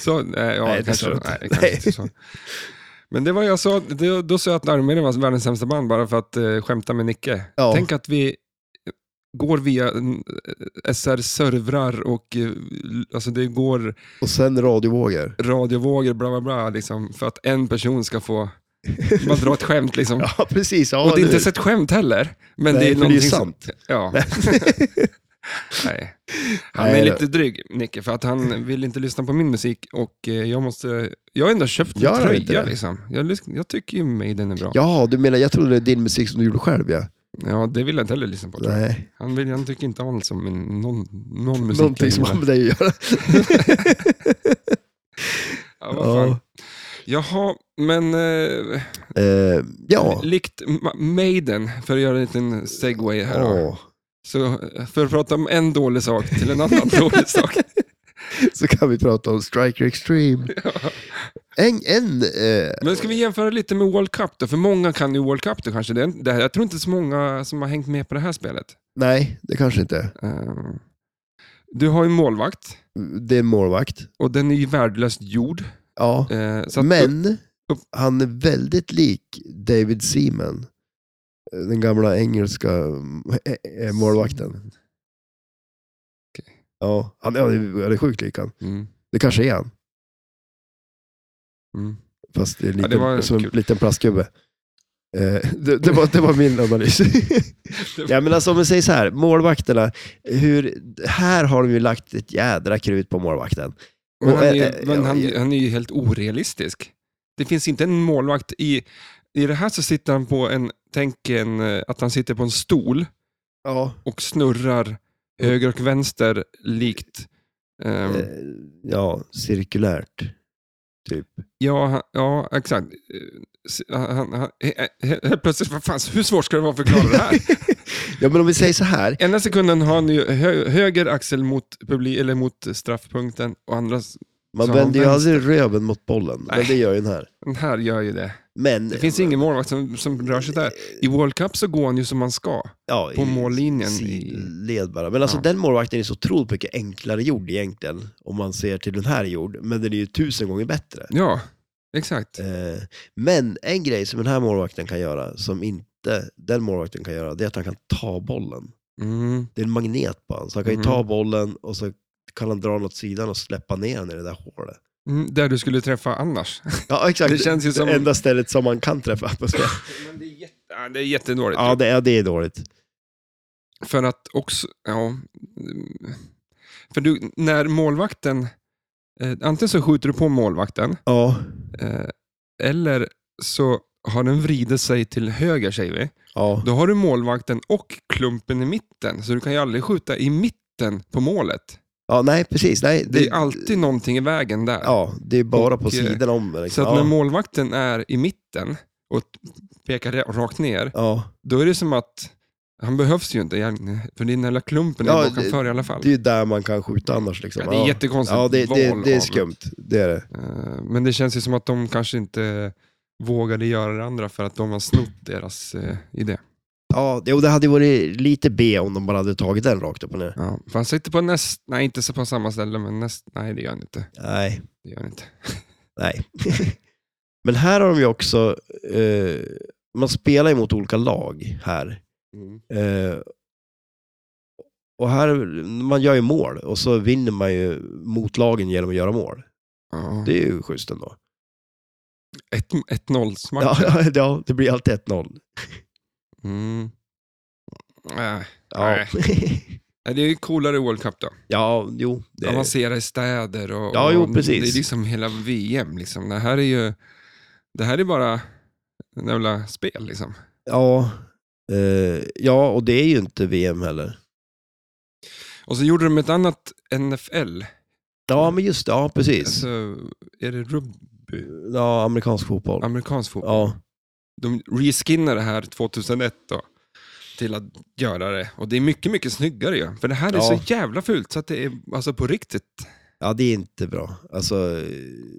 Speaker 1: Så, nej, ja,
Speaker 2: Nej, det
Speaker 1: kanske,
Speaker 2: sa du inte.
Speaker 1: nej, det kanske
Speaker 2: Nej.
Speaker 1: inte så. Men det var jag sa, då, då sa jag att Armenien var världens sämsta band bara för att eh, skämta med Nicke.
Speaker 2: Ja.
Speaker 1: Tänk att vi går via eh, SR-servrar och eh, alltså det går
Speaker 2: Och sen radiovågor.
Speaker 1: radiovågor bla bla bla liksom, för att en person ska få bara dra ett skämt. Liksom.
Speaker 2: Ja, precis. Ja,
Speaker 1: och det är
Speaker 2: eller
Speaker 1: inte
Speaker 2: hur?
Speaker 1: ens ett skämt heller. Men
Speaker 2: Nej,
Speaker 1: det är
Speaker 2: för det
Speaker 1: någonting
Speaker 2: är sant.
Speaker 1: Som, ja. Nej. Han
Speaker 2: Nej,
Speaker 1: är
Speaker 2: det-
Speaker 1: lite dryg, Nicke, för att han vill inte lyssna på min musik och eh, jag måste... Jag har ändå köpt
Speaker 2: Gör
Speaker 1: en
Speaker 2: han inte
Speaker 1: tröja
Speaker 2: det?
Speaker 1: liksom. Jag, lys- jag tycker ju Maiden är bra. Ja.
Speaker 2: Ja, du menar, jag trodde det var din musik som du gjorde själv ja.
Speaker 1: det vill jag inte heller lyssna på. tror jag.
Speaker 2: Nej,
Speaker 1: Han, vill, han tycker inte alls om min, någon, någon musik.
Speaker 2: någonting som har
Speaker 1: han...
Speaker 2: med dig att göra.
Speaker 1: ja, vad fan.
Speaker 2: Ja,
Speaker 1: Jaha, men eh,
Speaker 2: eh, ja.
Speaker 1: likt Ma- Maiden, för att göra en liten segway här. då.
Speaker 2: ja.
Speaker 1: Så för att prata om en dålig sak till en annan dålig sak.
Speaker 2: Så kan vi prata om Striker Extreme. En, en eh,
Speaker 1: Men ska vi jämföra lite med World Cup då? För många kan ju World Cup då kanske. Det är, det, här- jag tror inte så många som har hängt med på det här spelet.
Speaker 2: nej, det kanske inte är.
Speaker 1: Ehm, du har ju en målvakt
Speaker 2: Det är en målvakt.
Speaker 1: och den är ju värdelöst gjord.
Speaker 2: Ja.
Speaker 1: Ehm, så att
Speaker 2: Men
Speaker 1: upp.
Speaker 2: han är väldigt lik David Seaman. eh, Den gamla engelska eh, eh, målvakten. Ja, han han är, han är sjukt lik han.
Speaker 1: Mm,
Speaker 2: Det kanske är han.
Speaker 1: mm.
Speaker 2: Fast det är
Speaker 1: Ja,
Speaker 2: lite,
Speaker 1: det var
Speaker 2: som en
Speaker 1: kul.
Speaker 2: liten plastgubbe. Eh, det, det, var, det var min analys. ja, men alltså, om vi säger så här, målvakterna. Hur, här har de ju lagt ett jädra krut på målvakten.
Speaker 1: Men,
Speaker 2: Och,
Speaker 1: han är,
Speaker 2: eh,
Speaker 1: ju-
Speaker 2: eh,
Speaker 1: men han,
Speaker 2: ja, ja.
Speaker 1: han är ju helt orealistisk. Det finns inte en målvakt i... I det här så sitter han på en... Tänk en, eh, att han sitter på en stol
Speaker 2: Ja,
Speaker 1: och snurrar höger och vänster likt... ehm,
Speaker 2: eh, ja cirkulärt. Typ.
Speaker 1: Ja, han- ja exakt. Eh, s- Han, han, han, he- he- helt plötsligt, vad fan, hur svårt ska det vara att förklara det här?
Speaker 2: Ja, men om vi säger så här.
Speaker 1: Ena sekunden har han ju hö, höger axel mot, publi, eller mot straffpunkten och andra, s-
Speaker 2: Man
Speaker 1: Så
Speaker 2: vänder ju
Speaker 1: vänster.
Speaker 2: aldrig röven mot bollen, men
Speaker 1: Nej.
Speaker 2: det gör ju den här.
Speaker 1: den här gör ju det.
Speaker 2: Men,
Speaker 1: Det finns ingen målvakt som, som rör sig där. I World Cup så går han ju som han ska.
Speaker 2: ja,
Speaker 1: på
Speaker 2: i
Speaker 1: mållinjen i-
Speaker 2: sidled bara. Men alltså
Speaker 1: Ja.
Speaker 2: den målvakten är så otroligt mycket enklare gjord egentligen, om man ser till den här gjord. Men den är ju tusen gånger bättre.
Speaker 1: Ja, exakt.
Speaker 2: Eh, Men en grej som den här målvakten kan göra, som inte den målvakten kan göra, det är att han kan ta bollen.
Speaker 1: Mm.
Speaker 2: Det är en magnet på honom, så han kan ju
Speaker 1: Mm.
Speaker 2: ta bollen och så kan han dra den åt sidan och släppa ner den i det där hålet.
Speaker 1: Mm, där du skulle träffa annars.
Speaker 2: Ja, exakt.
Speaker 1: Det känns ju som-
Speaker 2: enda stället som man kan träffa på spel.
Speaker 1: Men det är, jätte, ja, det är jättedåligt.
Speaker 2: Ja, det, ja, det är dåligt.
Speaker 1: För att också, ja. mm, För du, när målvakten, eh, antingen så skjuter du på målvakten,
Speaker 2: Ja.
Speaker 1: eh, eller så har den vridit sig till höger, säger vi.
Speaker 2: Ja.
Speaker 1: Då har du målvakten och klumpen i mitten, så du kan ju aldrig skjuta i mitten på målet.
Speaker 2: ja, nej precis. Nej,
Speaker 1: Det är alltid någonting i vägen där.
Speaker 2: Ja, det är bara på
Speaker 1: Och, eh,
Speaker 2: sidan om.
Speaker 1: Så
Speaker 2: Liksom.
Speaker 1: att när
Speaker 2: Ja.
Speaker 1: målvakten är i mitten och pekar ra- rakt ner,
Speaker 2: ja,
Speaker 1: då är det som att han behövs ju inte egentligen, för den hela klumpen är
Speaker 2: Ja,
Speaker 1: bakanför i alla fall.
Speaker 2: det är ju där man kan skjuta annars. Liksom.
Speaker 1: Ja, det är jättekonstigt
Speaker 2: Ja, det, det,
Speaker 1: val
Speaker 2: det är
Speaker 1: av-
Speaker 2: skumt. Det är det.
Speaker 1: Eh, Men det känns ju som att de kanske inte vågade göra det andra för att de har snott deras eh, idé.
Speaker 2: Ja, det, och det hade ju varit lite B om de bara hade tagit den rakt upp och ner.
Speaker 1: Ja, för han sitter på näst, nej inte så på samma ställe, men näst, nej det gör han inte.
Speaker 2: Nej.
Speaker 1: Det gör han inte.
Speaker 2: Nej. Men här har de ju också, eh, man spelar ju mot olika lag här. Eh, och här, man gör ju mål och så vinner man ju mot lagen genom att göra mål.
Speaker 1: Ja.
Speaker 2: Det är ju schysst ändå.
Speaker 1: Ett, 1-0 smack.
Speaker 2: Ja, ja, det blir alltid 1-0.
Speaker 1: Mm. Äh,
Speaker 2: Ja.
Speaker 1: det är ju coolare i World Cup då.
Speaker 2: ja, jo. Det är...
Speaker 1: Avancera i städer och,
Speaker 2: Ja, jo,
Speaker 1: och
Speaker 2: precis.
Speaker 1: det är liksom hela VM. Liksom. Det här är ju det här är bara en jävla spel liksom.
Speaker 2: Ja, eh, ja, och det är ju inte VM heller.
Speaker 1: Och så gjorde de ett annat NFL.
Speaker 2: Ja, men just det. Ja, precis.
Speaker 1: Alltså, är det rugby?
Speaker 2: Ja, amerikansk fotboll.
Speaker 1: Amerikansk fotboll.
Speaker 2: Ja,
Speaker 1: De reskinnade det här 2001 då, till att göra det. Och det är mycket, mycket snyggare ju. För det här är
Speaker 2: Ja.
Speaker 1: så jävla fult så att det är alltså på riktigt.
Speaker 2: ja det är inte bra. Alltså, eh,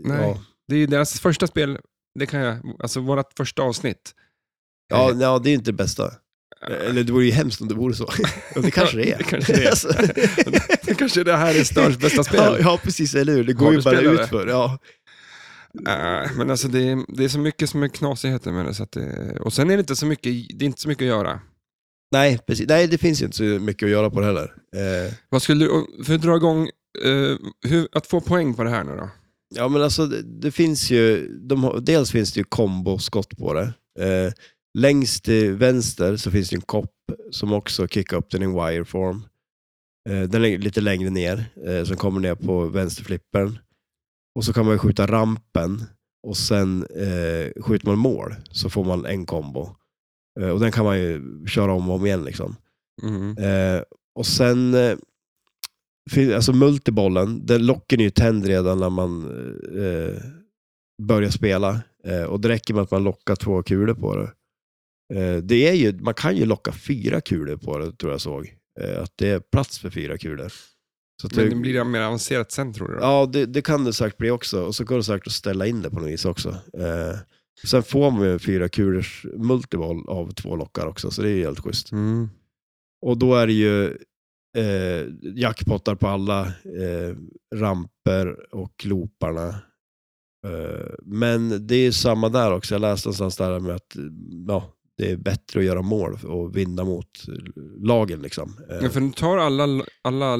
Speaker 1: Nej.
Speaker 2: Ja.
Speaker 1: Det är ju deras första spel, det kan jag, alltså vårt första avsnitt.
Speaker 2: Ja,
Speaker 1: Eh,
Speaker 2: ja, det är ju inte det bästa. Eller det vore ju hemskt om det vore så. Ja, Eh, det kanske det är.
Speaker 1: Det kanske det är.
Speaker 2: Alltså.
Speaker 1: Kanske det här är Störs bästa spel.
Speaker 2: Ja, ja, precis. Eller hur? Det går
Speaker 1: Har
Speaker 2: ju
Speaker 1: du
Speaker 2: bara
Speaker 1: spelare?
Speaker 2: ut för. Ja.
Speaker 1: Nej, men alltså det är, det är så mycket som är knasigheter med det. Så att det och sen är det, inte så mycket, det är inte så mycket att göra.
Speaker 2: Nej, precis. Nej, det finns ju inte så mycket att göra på det heller. Eh,
Speaker 1: Vad skulle du, för att dra igång, eh, hur, att få poäng på det här nu då?
Speaker 2: ja, men alltså det, det finns ju... De, har- dels finns det ju komboskott på det. Eh, längst till vänster så finns det en kopp som också kickar upp den i wireform. Eh, den är lite längre ner, eh, som kommer ner på vänsterflippen. Och så kan man ju skjuta rampen och sen eh, skjuter man mål så får man en kombo. Eh, och den kan man ju köra om och om igen liksom.
Speaker 1: Mm.
Speaker 2: Eh, och sen, eh, fin- alltså multibollen, den locken är ju tänd redan när man eh, börjar spela. Eh, och det räcker med att man lockar två kulor på det. Eh, det är ju, man kan ju locka fyra kulor på det, tror jag såg. Eh, att det är plats för fyra kulor. Så att
Speaker 1: Men det blir det mer avancerat sen tror du? Då?
Speaker 2: Typ. Ja, det, det kan det säkert bli också. Och så går det säkert att ställa in det på något vis också. Eh, sen får man ju fyra kulors multiboll av två lockar också, så det är ju helt schysst.
Speaker 1: Mm.
Speaker 2: Och då är det ju eh, jackpottar på alla eh, ramper och looparna. Eh, men det är ju samma där också. Jag läste någonstans där med att eh, ja, det är bättre att göra mål och vinna mot lagen. Liksom. Eh,
Speaker 1: Ja, för om du tar alla, alla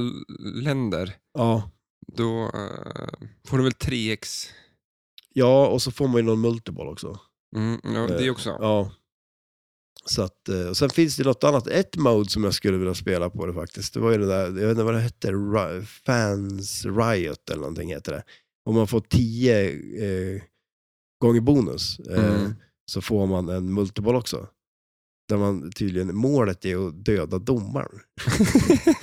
Speaker 1: länder,
Speaker 2: ja.
Speaker 1: då eh, får du väl 3x?
Speaker 2: ja, och så får man ju någon multiboll också.
Speaker 1: Mm, ja, det
Speaker 2: Eh,
Speaker 1: också.
Speaker 2: Ja. Så att, eh, och sen finns det något annat, ett mode som jag skulle vilja spela på det faktiskt. Det var ju det där, jag vet inte vad det hette, Ri- Fans Riot eller någonting heter det. Om man får tio eh, gånger bonus eh,
Speaker 1: Mm.
Speaker 2: så får man en multiboll också. Där man tydligen, målet är att döda domaren.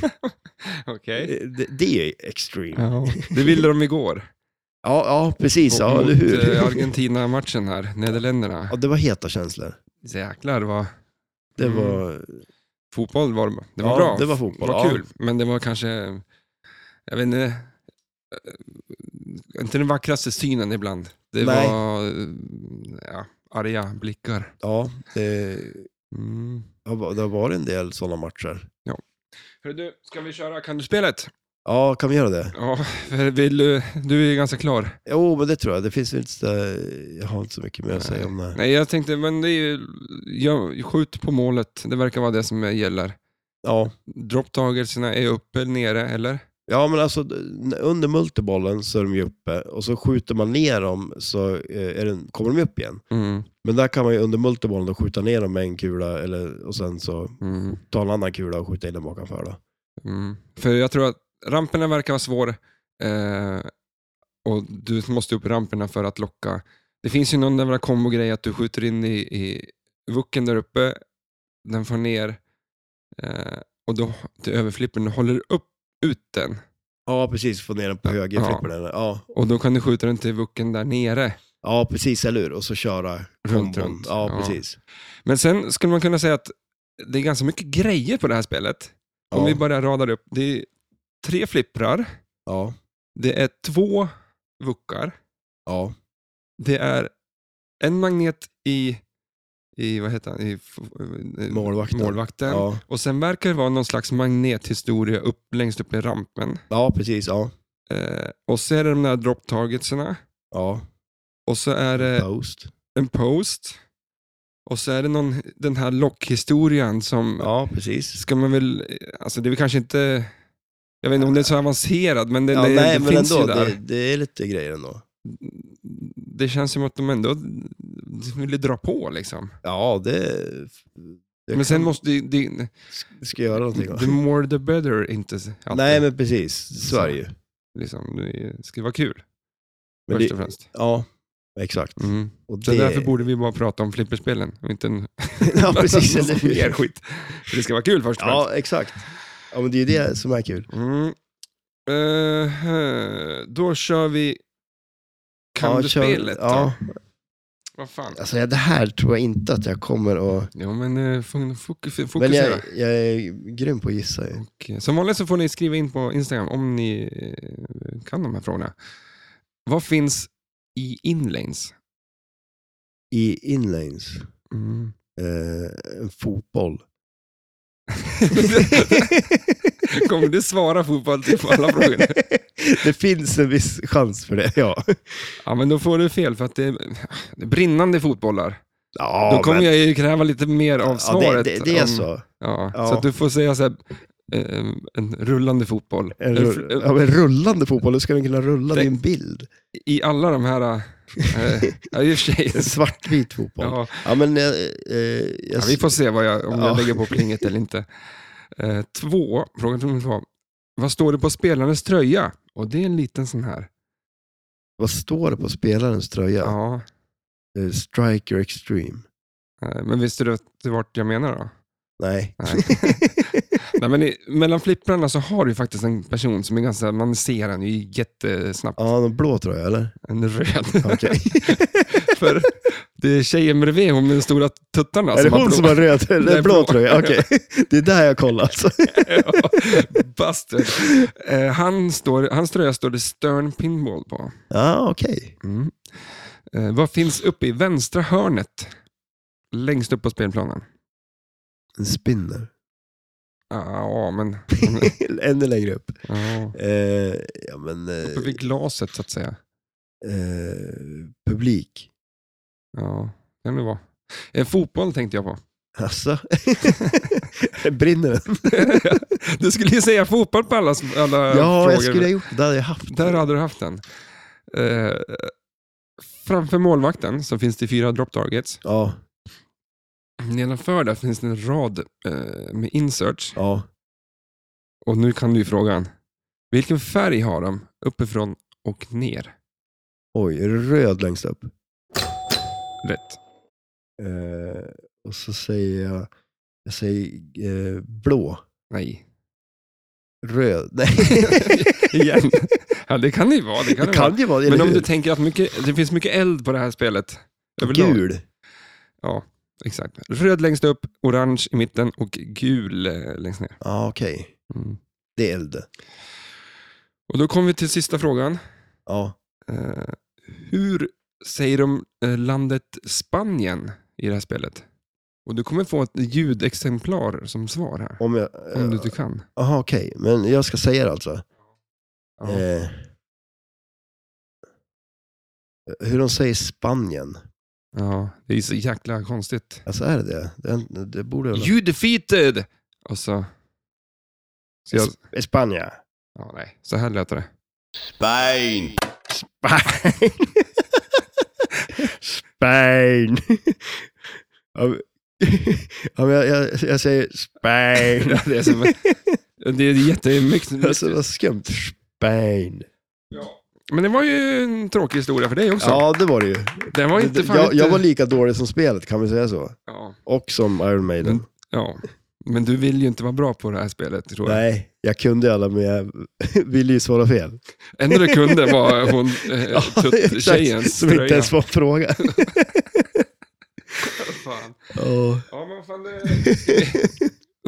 Speaker 1: Okej.
Speaker 2: Eh, Det, det är extreme. Ja,
Speaker 1: Ja. Det ville de igår.
Speaker 2: ja, precis. Ja,
Speaker 1: Mot,
Speaker 2: eller hur?
Speaker 1: eh, Argentina-matchen här, Nederländerna.
Speaker 2: Ja, det var heta känslor.
Speaker 1: Jäklar vad
Speaker 2: Det
Speaker 1: Mm.
Speaker 2: var,
Speaker 1: fotboll var det var
Speaker 2: Ja,
Speaker 1: bra.
Speaker 2: det var fotboll,
Speaker 1: Det var
Speaker 2: ja.
Speaker 1: kul, men det var kanske, jag vet inte, eh, inte den vackraste synen ibland. Det
Speaker 2: Nej.
Speaker 1: var eh, ja, arga blickar.
Speaker 2: ja, det,
Speaker 1: Mm.
Speaker 2: ja, det har varit en del sådana matcher.
Speaker 1: Hörru du, ska vi köra Kan du spelet?
Speaker 2: Ja, kan vi göra det?
Speaker 1: Ja, för vill du, du är ganska klar.
Speaker 2: Jo, men det tror jag. Det finns väl inte så, jag har inte så mycket mer att säga om det.
Speaker 1: Nej, jag tänkte, men det är ju, jag, skjut på målet, det verkar vara det som gäller.
Speaker 2: Ja,
Speaker 1: Dropptagelserna är uppe eller nere, eller?
Speaker 2: Ja, men alltså n- under multibollen så är de ju uppe och så skjuter man ner dem så eh, är den, kommer de upp igen.
Speaker 1: Mm.
Speaker 2: Men där kan man ju under multibollen då skjuta ner dem med en kula eller, och sen så
Speaker 1: Mm.
Speaker 2: ta en annan kula och skjuta in den bakanför. Då.
Speaker 1: Mm. För jag tror att ramperna verkar vara svår eh, och du måste upp i ramperna för att locka. Det finns ju någon där kombo-grej att du skjuter in i, i vucken där uppe, den får ner eh, och då till överflippen, du håller upp ut den
Speaker 2: Ja, precis. Få ner den på högerflippen. eller- Ja.
Speaker 1: och då kan du skjuta den till vucken där nere.
Speaker 2: ja, precis. Eller hur? Och så köra
Speaker 1: Runt,
Speaker 2: kombon.
Speaker 1: runt.
Speaker 2: Ja,
Speaker 1: Ja.
Speaker 2: precis.
Speaker 1: Men sen skulle man kunna säga att det är ganska mycket grejer på det här spelet. Om
Speaker 2: Ja.
Speaker 1: vi bara radar upp. Det är tre flipprar,
Speaker 2: Ja,
Speaker 1: det är två vuckar,
Speaker 2: ja,
Speaker 1: Det är en magnet i, i vad heter han, i f- eh,
Speaker 2: Målvakten.
Speaker 1: målvakten.
Speaker 2: ja.
Speaker 1: Och sen verkar det vara någon slags magnethistoria upp, längst upp i rampen.
Speaker 2: ja precis. Ja,
Speaker 1: Eh, och så är det de där drop targetsarna.
Speaker 2: ja.
Speaker 1: Och så är det
Speaker 2: Post.
Speaker 1: en post. Och så är det någon, den här lockhistorian som,
Speaker 2: Ja, precis.
Speaker 1: ska man väl, alltså det är väl kanske inte, jag vet inte om det är så avancerad, men det,
Speaker 2: Ja,
Speaker 1: det,
Speaker 2: nej,
Speaker 1: det
Speaker 2: men
Speaker 1: finns
Speaker 2: ändå.
Speaker 1: ju där.
Speaker 2: Det, det är lite grejer ändå.
Speaker 1: Det känns som att de ändå ville dra på liksom.
Speaker 2: Ja, det... det
Speaker 1: Men sen
Speaker 2: kan-
Speaker 1: måste ju- det,
Speaker 2: Ska jag göra någonting? va?
Speaker 1: The more the better, inte alltid.
Speaker 2: Nej, men precis. Så är det ju.
Speaker 1: liksom, det ska vara kul,
Speaker 2: Men
Speaker 1: först
Speaker 2: det,
Speaker 1: och främst.
Speaker 2: ja, exakt.
Speaker 1: Mm.
Speaker 2: Och
Speaker 1: Så
Speaker 2: det,
Speaker 1: därför borde vi bara prata om flipperspelen och inte en
Speaker 2: ja, precis,
Speaker 1: massa
Speaker 2: eller hur?
Speaker 1: mer skit. För det ska vara kul först och främst.
Speaker 2: Ja, exakt. Ja, men det är ju det som är kul.
Speaker 1: Mm. Eh, då kör vi Kan
Speaker 2: ja,
Speaker 1: du
Speaker 2: kör-
Speaker 1: spelet då?
Speaker 2: Ja,
Speaker 1: Vad fan?
Speaker 2: alltså ja, det här tror jag inte att jag kommer att...
Speaker 1: Ja, men eh, fun- fok-
Speaker 2: Men
Speaker 1: fokusera.
Speaker 2: jag, jag är grym på att gissa ju.
Speaker 1: Och som vanligt så får ni skriva in på Instagram om ni eh, kan de här frågorna. Vad finns i inlanes?
Speaker 2: I inlanes,
Speaker 1: Mm.
Speaker 2: eh, en fotboll.
Speaker 1: Kommer du svara fotboll till på alla frågorna?
Speaker 2: det finns en viss chans för det, ja.
Speaker 1: Ja, men då får du fel för att det är det är brinnande fotbollar.
Speaker 2: ja
Speaker 1: då kommer
Speaker 2: men-
Speaker 1: jag ju kräva lite mer av
Speaker 2: Ja,
Speaker 1: svaret.
Speaker 2: det, det, det är
Speaker 1: om-
Speaker 2: så.
Speaker 1: Ja,
Speaker 2: Ja.
Speaker 1: Så att du får säga så här, eh, en rullande fotboll.
Speaker 2: En,
Speaker 1: Eller
Speaker 2: rull,
Speaker 1: fr-
Speaker 2: ja, men rullande fotboll, då ska den kunna rulla i en bild.
Speaker 1: I alla de här... Eh, ja, i och för sig.
Speaker 2: En svartvit fotboll. Ja,
Speaker 1: Ja,
Speaker 2: men... Eh, eh, jag,
Speaker 1: ja, vi får se vad jag, om
Speaker 2: Ja.
Speaker 1: jag lägger på plinget eller inte. Eh, två, fråga nummer två. Vad står det på spelarens tröja? Och det är en liten sån här.
Speaker 2: Vad står det på spelarens tröja?
Speaker 1: Ja.
Speaker 2: Eh, Striker Extreme.
Speaker 1: Eh, Men visste du att det vart jag menar då?
Speaker 2: Nej.
Speaker 1: Nej. Nej, men i, mellan flipprarna så har du ju faktiskt en person som är ganska, man ser den ju jättesnabbt.
Speaker 2: Ja, någon blå tröja eller?
Speaker 1: En röd.
Speaker 2: Okej.
Speaker 1: För det är tjejen bredvid, hon med de stora tuttarna.
Speaker 2: är det
Speaker 1: har
Speaker 2: hon
Speaker 1: blå-
Speaker 2: som har röd eller
Speaker 1: Nej,
Speaker 2: blå,
Speaker 1: blå.
Speaker 2: tröja? Okej. Det är där jag kollar alltså.
Speaker 1: Ja, Bastard. Eh, han står, hans tröja står det Stern Pinball på.
Speaker 2: Ja, okej.
Speaker 1: Mm. Eh, vad finns uppe i vänstra hörnet? Längst upp på spelplanen.
Speaker 2: En spinner.
Speaker 1: Ja, men...
Speaker 2: Ännu längre upp.
Speaker 1: Ja,
Speaker 2: Eh, ja, men... Eh,
Speaker 1: uppe vid glaset så att säga.
Speaker 2: eh, publik.
Speaker 1: Ja, det kan det vara. Eh, fotboll tänkte jag på.
Speaker 2: Alltså. Brinner den?
Speaker 1: du skulle ju säga fotboll på alla, s- alla
Speaker 2: Ja,
Speaker 1: frågor.
Speaker 2: jag skulle ha gjort det. Där hade jag haft
Speaker 1: Där hade du haft den. Eh, framför målvakten så finns det fyra drop targets.
Speaker 2: Ja,
Speaker 1: Nedanför där finns det en rad eh, med inserts.
Speaker 2: ja.
Speaker 1: Och nu kan du ju frågan. Vilken färg har de uppifrån och ner?
Speaker 2: Oj, är det röd längst upp?
Speaker 1: Rätt.
Speaker 2: Eh, och så säger jag, jag säger eh, blå,
Speaker 1: Nej.
Speaker 2: röd. Nej,
Speaker 1: Igen. ja, det kan det ju vara. Det kan
Speaker 2: det
Speaker 1: det
Speaker 2: kan
Speaker 1: vara.
Speaker 2: ju vara. eller
Speaker 1: Men om
Speaker 2: hur?
Speaker 1: du tänker att mycket, det finns mycket eld på det här spelet. överlag.
Speaker 2: Gul.
Speaker 1: Exakt. Röd längst upp, orange i mitten och gul eh, längst ner. Mm.
Speaker 2: Ja, okej. Det är eld.
Speaker 1: Och då kommer vi till sista frågan.
Speaker 2: Ja.
Speaker 1: Eh, hur säger de eh, landet Spanien i det här spelet? Och du kommer få ett ljudexemplar som svar här.
Speaker 2: Om jag...
Speaker 1: Om du inte
Speaker 2: Eh,
Speaker 1: kan.
Speaker 2: Jaha, okej. Men jag ska säga det alltså.
Speaker 1: Ja.
Speaker 2: Eh, hur de säger Spanien.
Speaker 1: ja, det är så jäkla konstigt.
Speaker 2: Alltså är det det? Det, det borde väl...
Speaker 1: You defeated! Och så... så jag,
Speaker 2: Sp- Spanien.
Speaker 1: Ja, nej. Så här lät det.
Speaker 5: Spain.
Speaker 2: Spain. Spain. Ja, men- ja, men jag, jag, jag säger Spain.
Speaker 1: det är som... Det är jättemycket.
Speaker 2: Alltså vad skumt. Spain.
Speaker 1: Men det var ju en tråkig historia för dig också.
Speaker 2: Ja, det var det ju.
Speaker 1: Den var inte fan
Speaker 2: Jag,
Speaker 1: inte...
Speaker 2: jag var lika dålig som spelet, kan vi säga så?
Speaker 1: ja,
Speaker 2: Och som Iron Maiden.
Speaker 1: Mm, ja. Men du vill ju inte vara bra på det här spelet, tror jag.
Speaker 2: Nej, jag kunde ju alla, men jag ville ju svara fel.
Speaker 1: Enda du kunde var hon, eh,
Speaker 2: exakt.
Speaker 1: tutt-tjejens
Speaker 2: Som inte ens var en fråga.
Speaker 1: Fan.
Speaker 2: Åh.
Speaker 1: Ja, men vad fan det...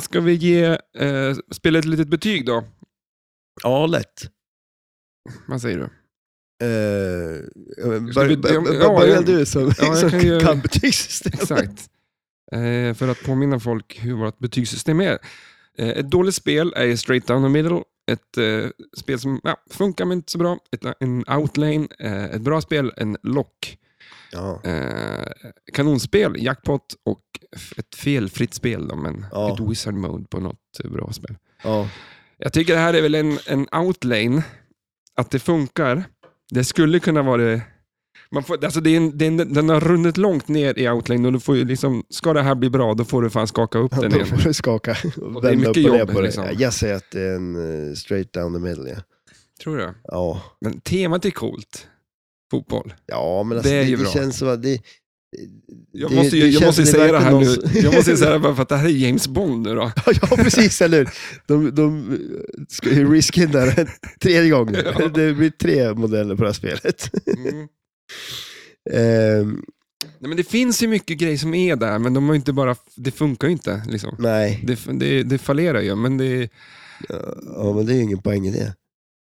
Speaker 1: Ska vi ge eh, spelet ett litet betyg då?
Speaker 2: Ja, lätt.
Speaker 1: Vad säger du?
Speaker 2: Eh,
Speaker 1: Ska vi-
Speaker 2: bör-
Speaker 1: ja,
Speaker 2: bör-
Speaker 1: ja,
Speaker 2: Börja
Speaker 1: jag-
Speaker 2: du som,
Speaker 1: Ja, jag
Speaker 2: som
Speaker 1: kan ju-
Speaker 2: kan betygssystem.
Speaker 1: Exakt. Eh, för att påminna folk hur vårt betygssystem är. Eh, ett dåligt spel är ju straight down the middle. Ett eh, spel som ja, funkar men inte så bra. Ett, en outlane. Eh, ett bra spel, en lock.
Speaker 2: Ja.
Speaker 1: Eh, kanonspel, jackpot och f- ett felfritt spel. Då, men
Speaker 2: Ja.
Speaker 1: ett wizard mode på något eh, bra spel.
Speaker 2: Ja.
Speaker 1: Jag tycker det här är väl en, en outlane. Att det funkar. Det skulle kunna vara det. Man får, alltså det är en, det är en, den har runnit långt ner i outlane och du får ju liksom, ska det här bli bra då får du fan skaka upp den
Speaker 2: Då
Speaker 1: igen.
Speaker 2: får du skaka
Speaker 1: är
Speaker 2: och vända upp och
Speaker 1: mycket
Speaker 2: ner
Speaker 1: jobb,
Speaker 2: på det.
Speaker 1: liksom.
Speaker 2: Jag säger att det är en eh, straight down the middle. Ja,
Speaker 1: Tror jag.
Speaker 2: ja.
Speaker 1: Men temat är coolt. Fotboll.
Speaker 2: ja men alltså,
Speaker 1: Det
Speaker 2: det,
Speaker 1: är ju
Speaker 2: det,
Speaker 1: bra.
Speaker 2: känns som att det...
Speaker 1: Jag
Speaker 2: det-
Speaker 1: måste, ju,
Speaker 2: det
Speaker 1: jag
Speaker 2: känns
Speaker 1: måste ju
Speaker 2: som det
Speaker 1: säga det här
Speaker 2: verkar
Speaker 1: nu.
Speaker 2: någon-
Speaker 1: Jag måste ju säga det här bara för att det här är James Bond nu då.
Speaker 2: ja, precis, eller hur? De, de eh, ska ju reskinna den tredje gången.
Speaker 1: Ja.
Speaker 2: Det blir tre modeller på det här spelet.
Speaker 1: Mm.
Speaker 2: Ehm,
Speaker 1: Nej, men det finns ju mycket grejer som är där, men de har ju inte bara, det funkar ju inte. Liksom.
Speaker 2: nej,
Speaker 1: Det, det, det fallerar ju, men det,
Speaker 2: ja, men det är ju ingen poäng i det.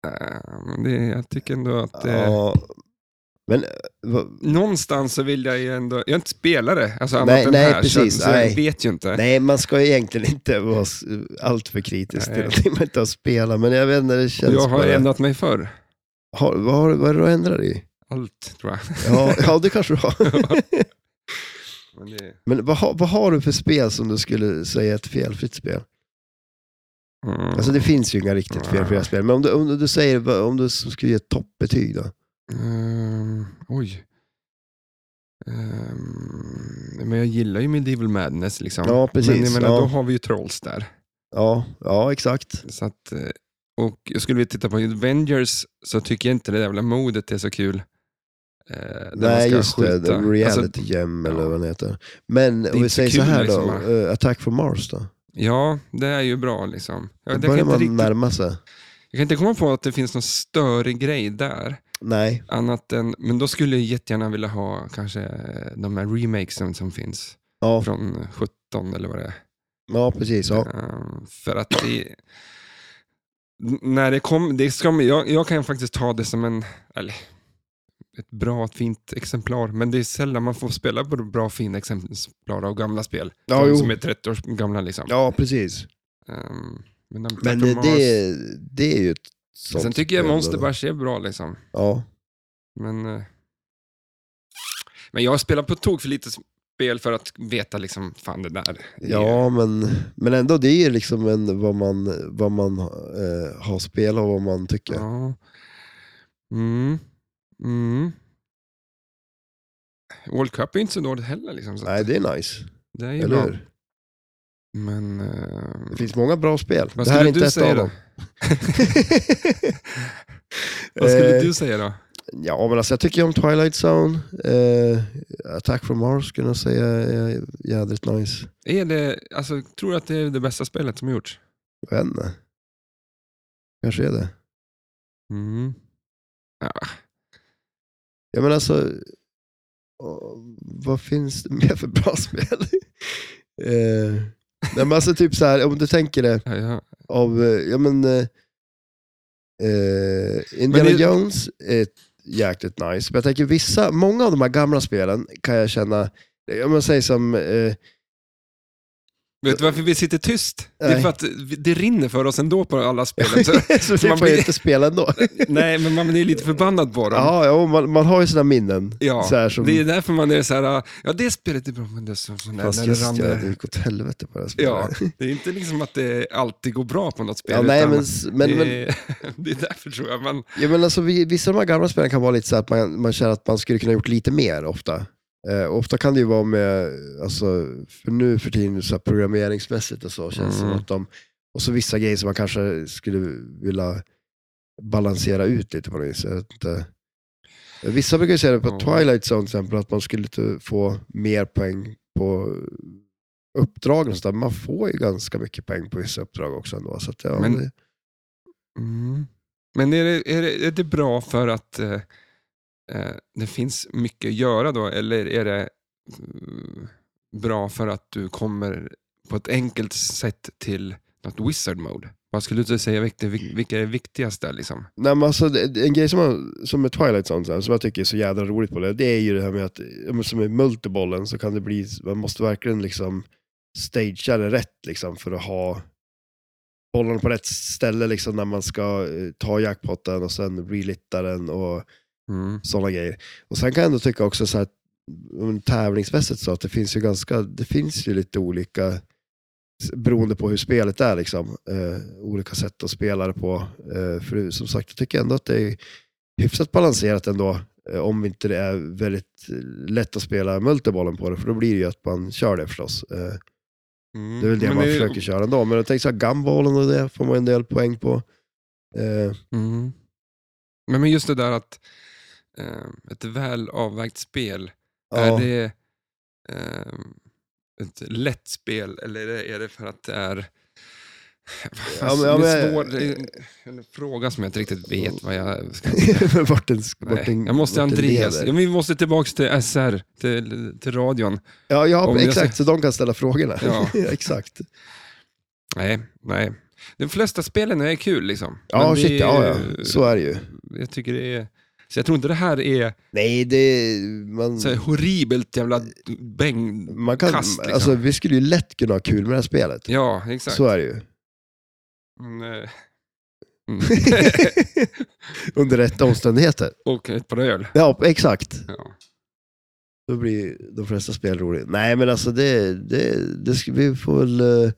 Speaker 1: äh, men det jag tycker ändå att... eh,
Speaker 2: Ja. Men, eh, vad-
Speaker 1: någonstans så vill jag ju ändå, jag är inte spelare, alltså annat
Speaker 2: Nej,
Speaker 1: än
Speaker 2: nej,
Speaker 1: här,
Speaker 2: precis,
Speaker 1: så, så jag
Speaker 2: nej.
Speaker 1: vet ju inte.
Speaker 2: Nej, man ska ju egentligen inte vara s- alltför kritisk
Speaker 1: Nej.
Speaker 2: till någonting man inte har spelat, men jag vet inte, det känns
Speaker 1: jag har
Speaker 2: bara...
Speaker 1: ändrat mig förr.
Speaker 2: Har, vad, har, vad är det du har ändrat i?
Speaker 1: Allt, tror jag.
Speaker 2: Ja, ja, det kanske du har.
Speaker 1: Men det,
Speaker 2: Men vad, har- vad har du för spel som du skulle säga är ett felfritt spel?
Speaker 1: mm,
Speaker 2: Alltså det finns ju inga riktigt felfria spel, men om du, om du säger, vad- om du skulle ge ett toppbetyg då?
Speaker 1: ehm, oj. Ehm, men jag gillar ju Medieval Madness liksom.
Speaker 2: Ja, precis,
Speaker 1: Men jag menar,
Speaker 2: ja.
Speaker 1: då har vi ju Trolls där.
Speaker 2: Ja, ja exakt.
Speaker 1: Så att, eh, och jag skulle vilja titta på Avengers så tycker jag inte det jävla modet är så kul. Eh, där man
Speaker 2: Nej,
Speaker 1: ska
Speaker 2: just det.
Speaker 1: skjuta. Alltså,
Speaker 2: The reality gem
Speaker 1: ja.
Speaker 2: eller vad den heter. Men om
Speaker 1: inte
Speaker 2: vi säger så
Speaker 1: kul,
Speaker 2: här då,
Speaker 1: liksom.
Speaker 2: eh, Attack from Mars då?
Speaker 1: ja, det är ju bra liksom. Ja,
Speaker 2: Då
Speaker 1: det kan
Speaker 2: börjar
Speaker 1: inte
Speaker 2: man
Speaker 1: riktigt
Speaker 2: närma sig.
Speaker 1: Jag kan inte komma på att det finns någon större grej där.
Speaker 2: Nej,
Speaker 1: Annat än, men då skulle jag jättegärna vilja ha kanske eh, de här remakesen som finns
Speaker 2: ja,
Speaker 1: från 17 eller vad det är.
Speaker 2: ja precis. Ja.
Speaker 1: Ehm, För att det... N- När det kom, det ska, man- jag, jag kan faktiskt ta det som en, eller, ett bra, fint exemplar. Men det är sällan man får spela på bra, fina exemplar av gamla spel.
Speaker 2: Ja,
Speaker 1: de
Speaker 2: jo.
Speaker 1: som är 30 år gamla liksom.
Speaker 2: ja, precis.
Speaker 1: Ehm, men de-
Speaker 2: Men
Speaker 1: Mars-
Speaker 2: eh, det, det är ju ett sånt
Speaker 1: Sen tycker jag
Speaker 2: spel då.
Speaker 1: Monster Bash är bra liksom.
Speaker 2: Ja,
Speaker 1: Men, eh, men jag har spelat på tok för lite spel för att veta liksom, fan det där. är-
Speaker 2: ja men, men ändå det är ju liksom en, vad man, vad man eh, har spelat och vad man tycker.
Speaker 1: ja. Mm. Mm. World Cup är ju inte så dåligt heller. Liksom, så att
Speaker 2: Nej, det är nice.
Speaker 1: det är ju
Speaker 2: Eller
Speaker 1: bra.
Speaker 2: hur?
Speaker 1: Men... eh,
Speaker 2: Det finns många bra spel.
Speaker 1: vad
Speaker 2: det här är
Speaker 1: skulle
Speaker 2: inte
Speaker 1: du
Speaker 2: ett
Speaker 1: säga
Speaker 2: av
Speaker 1: då?
Speaker 2: dem.
Speaker 1: Vad skulle
Speaker 2: Eh,
Speaker 1: du säga då?
Speaker 2: Ja, men alltså jag tycker om Twilight Zone. Eh, Attack from Mars skulle jag säga är jädrigt nice.
Speaker 1: Är det, alltså, tror du att det är det bästa spelet som gjorts?
Speaker 2: Jag vet inte. Kanske är det.
Speaker 1: Mm.
Speaker 2: Ja, men alltså, åh, vad finns det mer för bra spel? eh, nej, men alltså typ så här, om du tänker det,
Speaker 1: Ja, ja.
Speaker 2: av, eh, ja men, eh, eh, Indiana
Speaker 1: Men det-
Speaker 2: Jones är ett jäkligt nice, men jag tänker vissa, många av de här gamla spelen kan jag känna, om man säger som eh,
Speaker 1: Vet du varför vi sitter tyst? Det är
Speaker 2: Nej.
Speaker 1: för att vi- det rinner för oss ändå på alla spelen. Så,
Speaker 2: Så
Speaker 1: så
Speaker 2: vi
Speaker 1: man
Speaker 2: får ju
Speaker 1: blir,
Speaker 2: inte spela ändå.
Speaker 1: nej, men man blir lite förbannad på dem.
Speaker 2: Ja, ja man, man har ju sina minnen.
Speaker 1: Ja,
Speaker 2: så här som,
Speaker 1: det är därför man är så här, ja det spelet är bra, men det är så... Nej,
Speaker 2: Fast
Speaker 1: när
Speaker 2: just
Speaker 1: rann-
Speaker 2: ja, det gick åt helvete på det här spelet.
Speaker 1: Ja, det är inte liksom att det alltid går bra på något spel.
Speaker 2: Ja, nej,
Speaker 1: utan
Speaker 2: men, s- men, men,
Speaker 1: det, det är därför tror jag man...
Speaker 2: ja, men alltså, vi- vissa av de här gamla spelen kan vara lite så här att man, man känner att man skulle kunna gjort lite mer ofta. Eh, ofta kan det ju vara med, alltså, för nu för tiden så här programmeringsmässigt och så känns det
Speaker 1: Mm.
Speaker 2: som att de, och så vissa grejer som man kanske skulle vilja balansera ut lite på något vis. Jag vet inte. Vissa brukar ju säga det på
Speaker 1: Ja.
Speaker 2: Twilight Zone till exempel, att man skulle inte få mer poäng på uppdragen. och Så där. Man får ju ganska mycket poäng på vissa uppdrag också ändå. Så att, ja,
Speaker 1: Men-
Speaker 2: det,
Speaker 1: Mm. Men är det, är, det, är det bra för att eh, eh, det finns mycket att göra då, eller är det mm, bra för att du kommer på ett enkelt sätt till något wizard mode? Vad skulle du säga, vilka, vilka är viktigast där liksom?
Speaker 2: Nej, men alltså, det- det- en grej som, man, som med Twilight Zone, så här, som jag tycker är så jädra roligt på det, det är ju det här med att, ja, men som i multibollen så kan det bli, man måste verkligen liksom stagea det rätt liksom för att ha bollarna på rätt ställe liksom när man ska eh, ta jackpotten och sen relitta den och
Speaker 1: Mm.
Speaker 2: sådana grejer. Och sen kan jag ändå tycka också så här, att, om tävlingsmässigt så att det finns ju ganska, det finns ju lite olika beroende på hur spelet är liksom. Eh, olika sätt att spela det på. Eh, för som sagt, jag tycker ändå att det är hyfsat balanserat ändå. Eh, om inte det är väldigt eh, lätt att spela multibollen på det, för då blir det ju att man kör det förstås. Eh, det är väl det
Speaker 1: Mm, Men
Speaker 2: man försöker köra ändå. Men jag tänker så här, gumballen och det får man en del poäng på. Eh,
Speaker 1: Mm. Men men just det där att eh, ett väl avvägt spel Är
Speaker 2: ja.
Speaker 1: det ehm, ett lätt spel eller är det, är det för att det är... Alltså,
Speaker 2: men- ja,
Speaker 1: det är
Speaker 2: men-
Speaker 1: svår, det är en, en fråga som jag inte riktigt vet vad jag ska...
Speaker 2: vart den, vart
Speaker 1: Nej,
Speaker 2: den,
Speaker 1: jag måste
Speaker 2: vart den
Speaker 1: Andreas.
Speaker 2: leder.
Speaker 1: Ja, men vi måste tillbaka till SR, till, till radion.
Speaker 2: Ja,
Speaker 1: Om
Speaker 2: ja
Speaker 1: jag
Speaker 2: exakt. Så de kan ställa frågorna.
Speaker 1: Ja.
Speaker 2: Ja. exakt.
Speaker 1: Nej, nej. De flesta spelen är kul liksom.
Speaker 2: Ja,
Speaker 1: Men det
Speaker 2: shit,
Speaker 1: är-
Speaker 2: ja, ja. Så är det ju.
Speaker 1: Jag tycker det är... Så jag tror inte det här är
Speaker 2: Nej, det... Man,
Speaker 1: så här horribelt jävla
Speaker 2: Mm.
Speaker 1: bäng...
Speaker 2: man kan,
Speaker 1: kast, liksom.
Speaker 2: alltså, vi skulle ju lätt kunna ha kul med det här spelet.
Speaker 1: Ja, exakt.
Speaker 2: Så är det ju.
Speaker 1: Men, eh, mm.
Speaker 2: Under rätta omständigheter.
Speaker 1: Och ett par öl.
Speaker 2: Ja, exakt.
Speaker 1: Ja.
Speaker 2: Då blir de flesta spel roliga. Nej, men alltså det... det, det ska, vi får väl eh,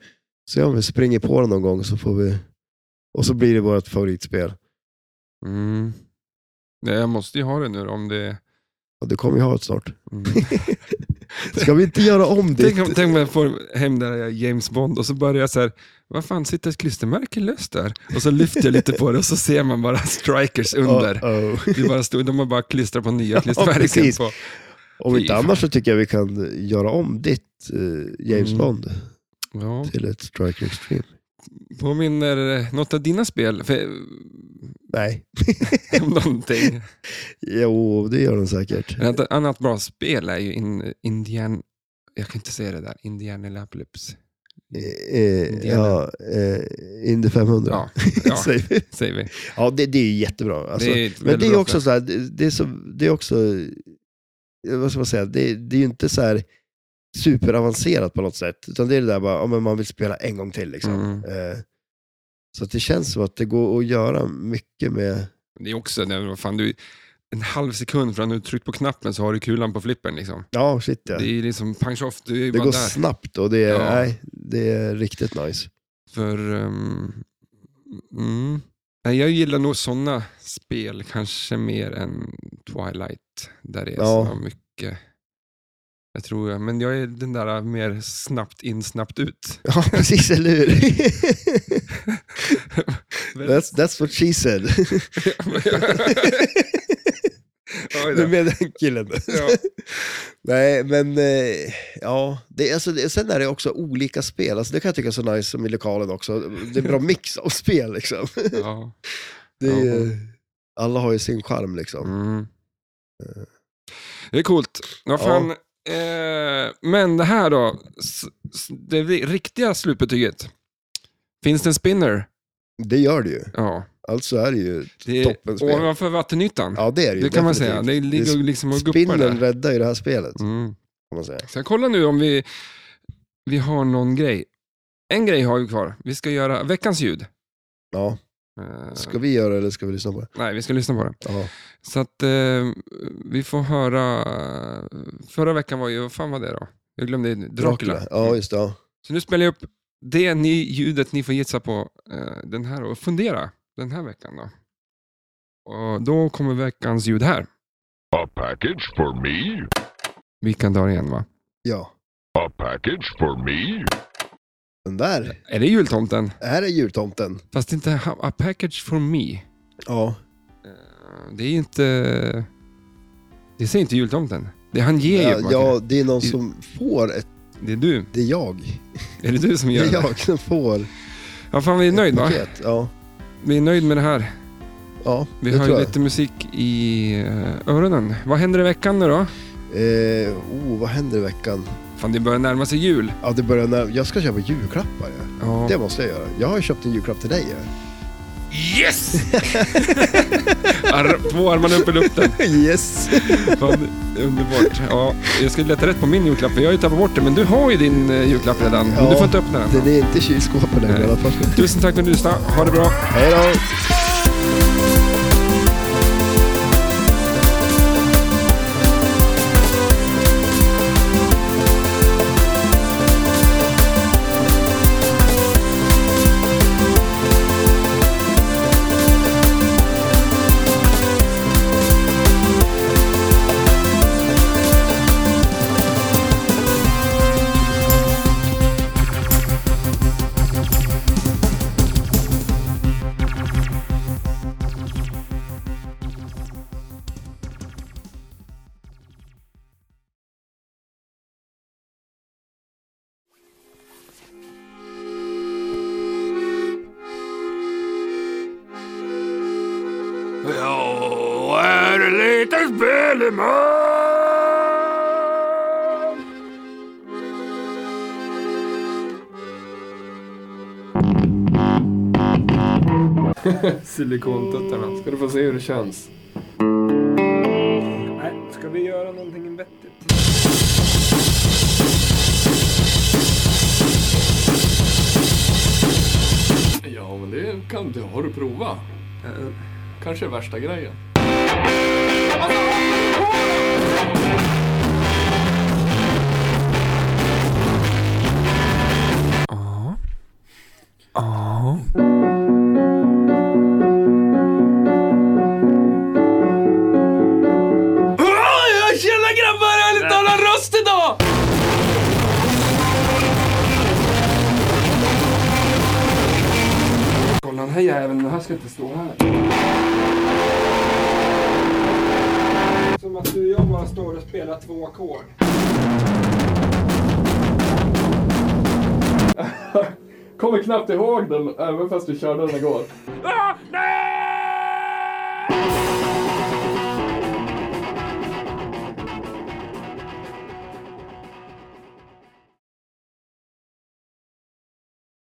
Speaker 2: se om vi springer på det någon gång så får vi... Och så blir det vårt favoritspel.
Speaker 1: Mm. Nej, jag måste ju ha det nu då, om det...
Speaker 2: Ja, du kommer ju ha ett snart.
Speaker 1: Mm.
Speaker 2: Ska vi inte göra om det?
Speaker 1: tänk, om, tänk om jag får hem där jag är James Bond och så börjar jag så här, vad fan sitter ett klistermärke löst där? Och så lyfter jag lite på det och så ser man bara strikers under.
Speaker 2: Uh-oh.
Speaker 1: Det är bara stod, de har bara klistrat på nya klistermärken.
Speaker 2: precis.
Speaker 1: på.
Speaker 2: Om
Speaker 1: Fy
Speaker 2: inte
Speaker 1: fan.
Speaker 2: annars så tycker jag vi kan göra om ditt eh, James
Speaker 1: Mm.
Speaker 2: Bond
Speaker 1: Ja,
Speaker 2: till ett Striker Extreme.
Speaker 1: påminner eh, något av dina spel för,
Speaker 2: Nej.
Speaker 1: om någonting?
Speaker 2: Jo, det gör den säkert.
Speaker 1: Ett annat bra spel är ju in, Indian... Jag kan inte säga det där. Indianapolis.
Speaker 2: Eh, eh, ja, eh, Indy 500.
Speaker 1: Ja, ja
Speaker 2: Säger vi.
Speaker 1: säger vi.
Speaker 2: ja det, det är ju jättebra. Alltså,
Speaker 1: det är ett
Speaker 2: men
Speaker 1: väldigt
Speaker 2: det är ju
Speaker 1: bra
Speaker 2: också så här, det, det är så, det är också, eh, vad ska man säga, det, det är ju inte så här superavancerat på något sätt, utan det är det där bara, ja, men man vill spela en gång till liksom.
Speaker 1: Mm.
Speaker 2: Eh, så att det känns som att det går att göra mycket med
Speaker 1: Det är också, nej, men vad fan, du, en halv sekund från att du tryckt på knappen så har du kulan på flippen. Liksom.
Speaker 2: Ja, shit ja.
Speaker 1: Det är liksom punch off, du är ju
Speaker 2: Det
Speaker 1: bara
Speaker 2: går
Speaker 1: där.
Speaker 2: snabbt och det är,
Speaker 1: Ja.
Speaker 2: nej, det är riktigt nice.
Speaker 1: För, ehm, mm, nej, jag gillar nog sådana spel kanske mer än Twilight, där det är
Speaker 2: Ja.
Speaker 1: så mycket. Jag tror jag, men jag är den där mer snabbt in, snabbt ut.
Speaker 2: Ja, precis, eller hur? that's, that's what she said.
Speaker 1: Oj
Speaker 2: Du
Speaker 1: då.
Speaker 2: med den killen.
Speaker 1: Ja.
Speaker 2: Nej, men eh, ja. Det, alltså, det, sen är det också olika spel. Alltså, det kan jag tycka är så nice som i lokalen också. Det är en bra mix av spel. Liksom.
Speaker 1: Ja.
Speaker 2: Det är, ju-
Speaker 1: Ja.
Speaker 2: Alla har ju sin charm. Liksom. Eh.
Speaker 1: Mm. Det är coolt. Vad fan. Eh, men det här då, s- s- det ri- riktiga slutbetyget. Finns det en spinner?
Speaker 2: Det gör det ju.
Speaker 1: Ja.
Speaker 2: Alltså är det ju
Speaker 1: Det är
Speaker 2: toppenspel.
Speaker 1: ovanför vattenytan.
Speaker 2: Ja, det är det ju.
Speaker 1: det kan man säga.
Speaker 2: definitivt.
Speaker 1: Det ligger liksom och guppar
Speaker 2: Spinnen
Speaker 1: där.
Speaker 2: räddar ju det här spelet.
Speaker 1: Mm.
Speaker 2: Kan man säga.
Speaker 1: Så jag kollar nu om vi, vi har någon grej. en grej har vi kvar. Vi ska göra veckans ljud.
Speaker 2: Ja.
Speaker 1: Eh,
Speaker 2: Ska vi göra det eller ska vi lyssna på det?
Speaker 1: Nej, vi ska lyssna på det.
Speaker 2: Ja.
Speaker 1: Så att eh, vi får höra... Förra veckan var ju, vad fan var det då? Jag glömde Dracula. Mm.
Speaker 2: Ja, just det. Ja.
Speaker 1: Så nu spelar jag upp det ni, ljudet ni får gissa på eh, den här och fundera den här veckan då. Och då kommer veckans ljud här.
Speaker 5: A package for me?
Speaker 1: Vilken dag igen va?
Speaker 2: ja.
Speaker 5: A package for me?
Speaker 2: Den där.
Speaker 1: Är det jultomten?
Speaker 2: Här är jultomten.
Speaker 1: Fast inte ha- a package for me.
Speaker 2: Ja.
Speaker 1: Det är ju inte... Det säger inte jultomten. Det han ger ju.
Speaker 2: Ja,
Speaker 1: Martin.
Speaker 2: ja, det är någon
Speaker 1: Det-
Speaker 2: som får ett...
Speaker 1: Det är du.
Speaker 2: Det är jag.
Speaker 1: Är det du som
Speaker 2: Det
Speaker 1: gör
Speaker 2: är
Speaker 1: det?
Speaker 2: jag som får
Speaker 1: Ja, fan vi är nöjd va?
Speaker 2: paket. Ja.
Speaker 1: Vi är nöjd med det här.
Speaker 2: Ja,
Speaker 1: Vi
Speaker 2: det
Speaker 1: har ju
Speaker 2: tror jag.
Speaker 1: lite musik i eh, öronen. Vad händer i veckan nu då?
Speaker 2: Eh, oh, vad händer i veckan?
Speaker 1: Fan, det börjar närma sig jul.
Speaker 2: Ja, det börjar när... Jag ska köpa julklappar. Ja.
Speaker 1: Ja.
Speaker 2: Det måste jag göra. Jag har ju köpt en julklapp till dig. Ja.
Speaker 1: Yes! Ar- två armarna upp i luften.
Speaker 2: Yes!
Speaker 1: Fan, underbart. Ja, jag skulle leta rätt på min julklapp, för jag har ju tappat bort det. Men du har ju din eh, julklapp redan. Men
Speaker 2: Ja.
Speaker 1: du får inte öppna den.
Speaker 2: Den är inte i kylskåpet längre i alla fall.
Speaker 1: Tusen tack för att du lyssnade. Ha det bra.
Speaker 2: Hej då!
Speaker 5: Jag är en liten spelman!
Speaker 1: Silikontuttarna. Ska du få se hur det känns. Nej, ska vi göra någonting vettigt?
Speaker 6: Ja, men det kan du. Har du provat?
Speaker 1: Eh,
Speaker 6: Kanske värsta grejen. Tjena grabbar! Ärligt talat röst idag!
Speaker 1: Kolla den här jäveln, den här ska inte stå här. Som att du och jag bara står och spelar två ackord.
Speaker 6: Kommer knappt ihåg den, även fast vi körde den igår.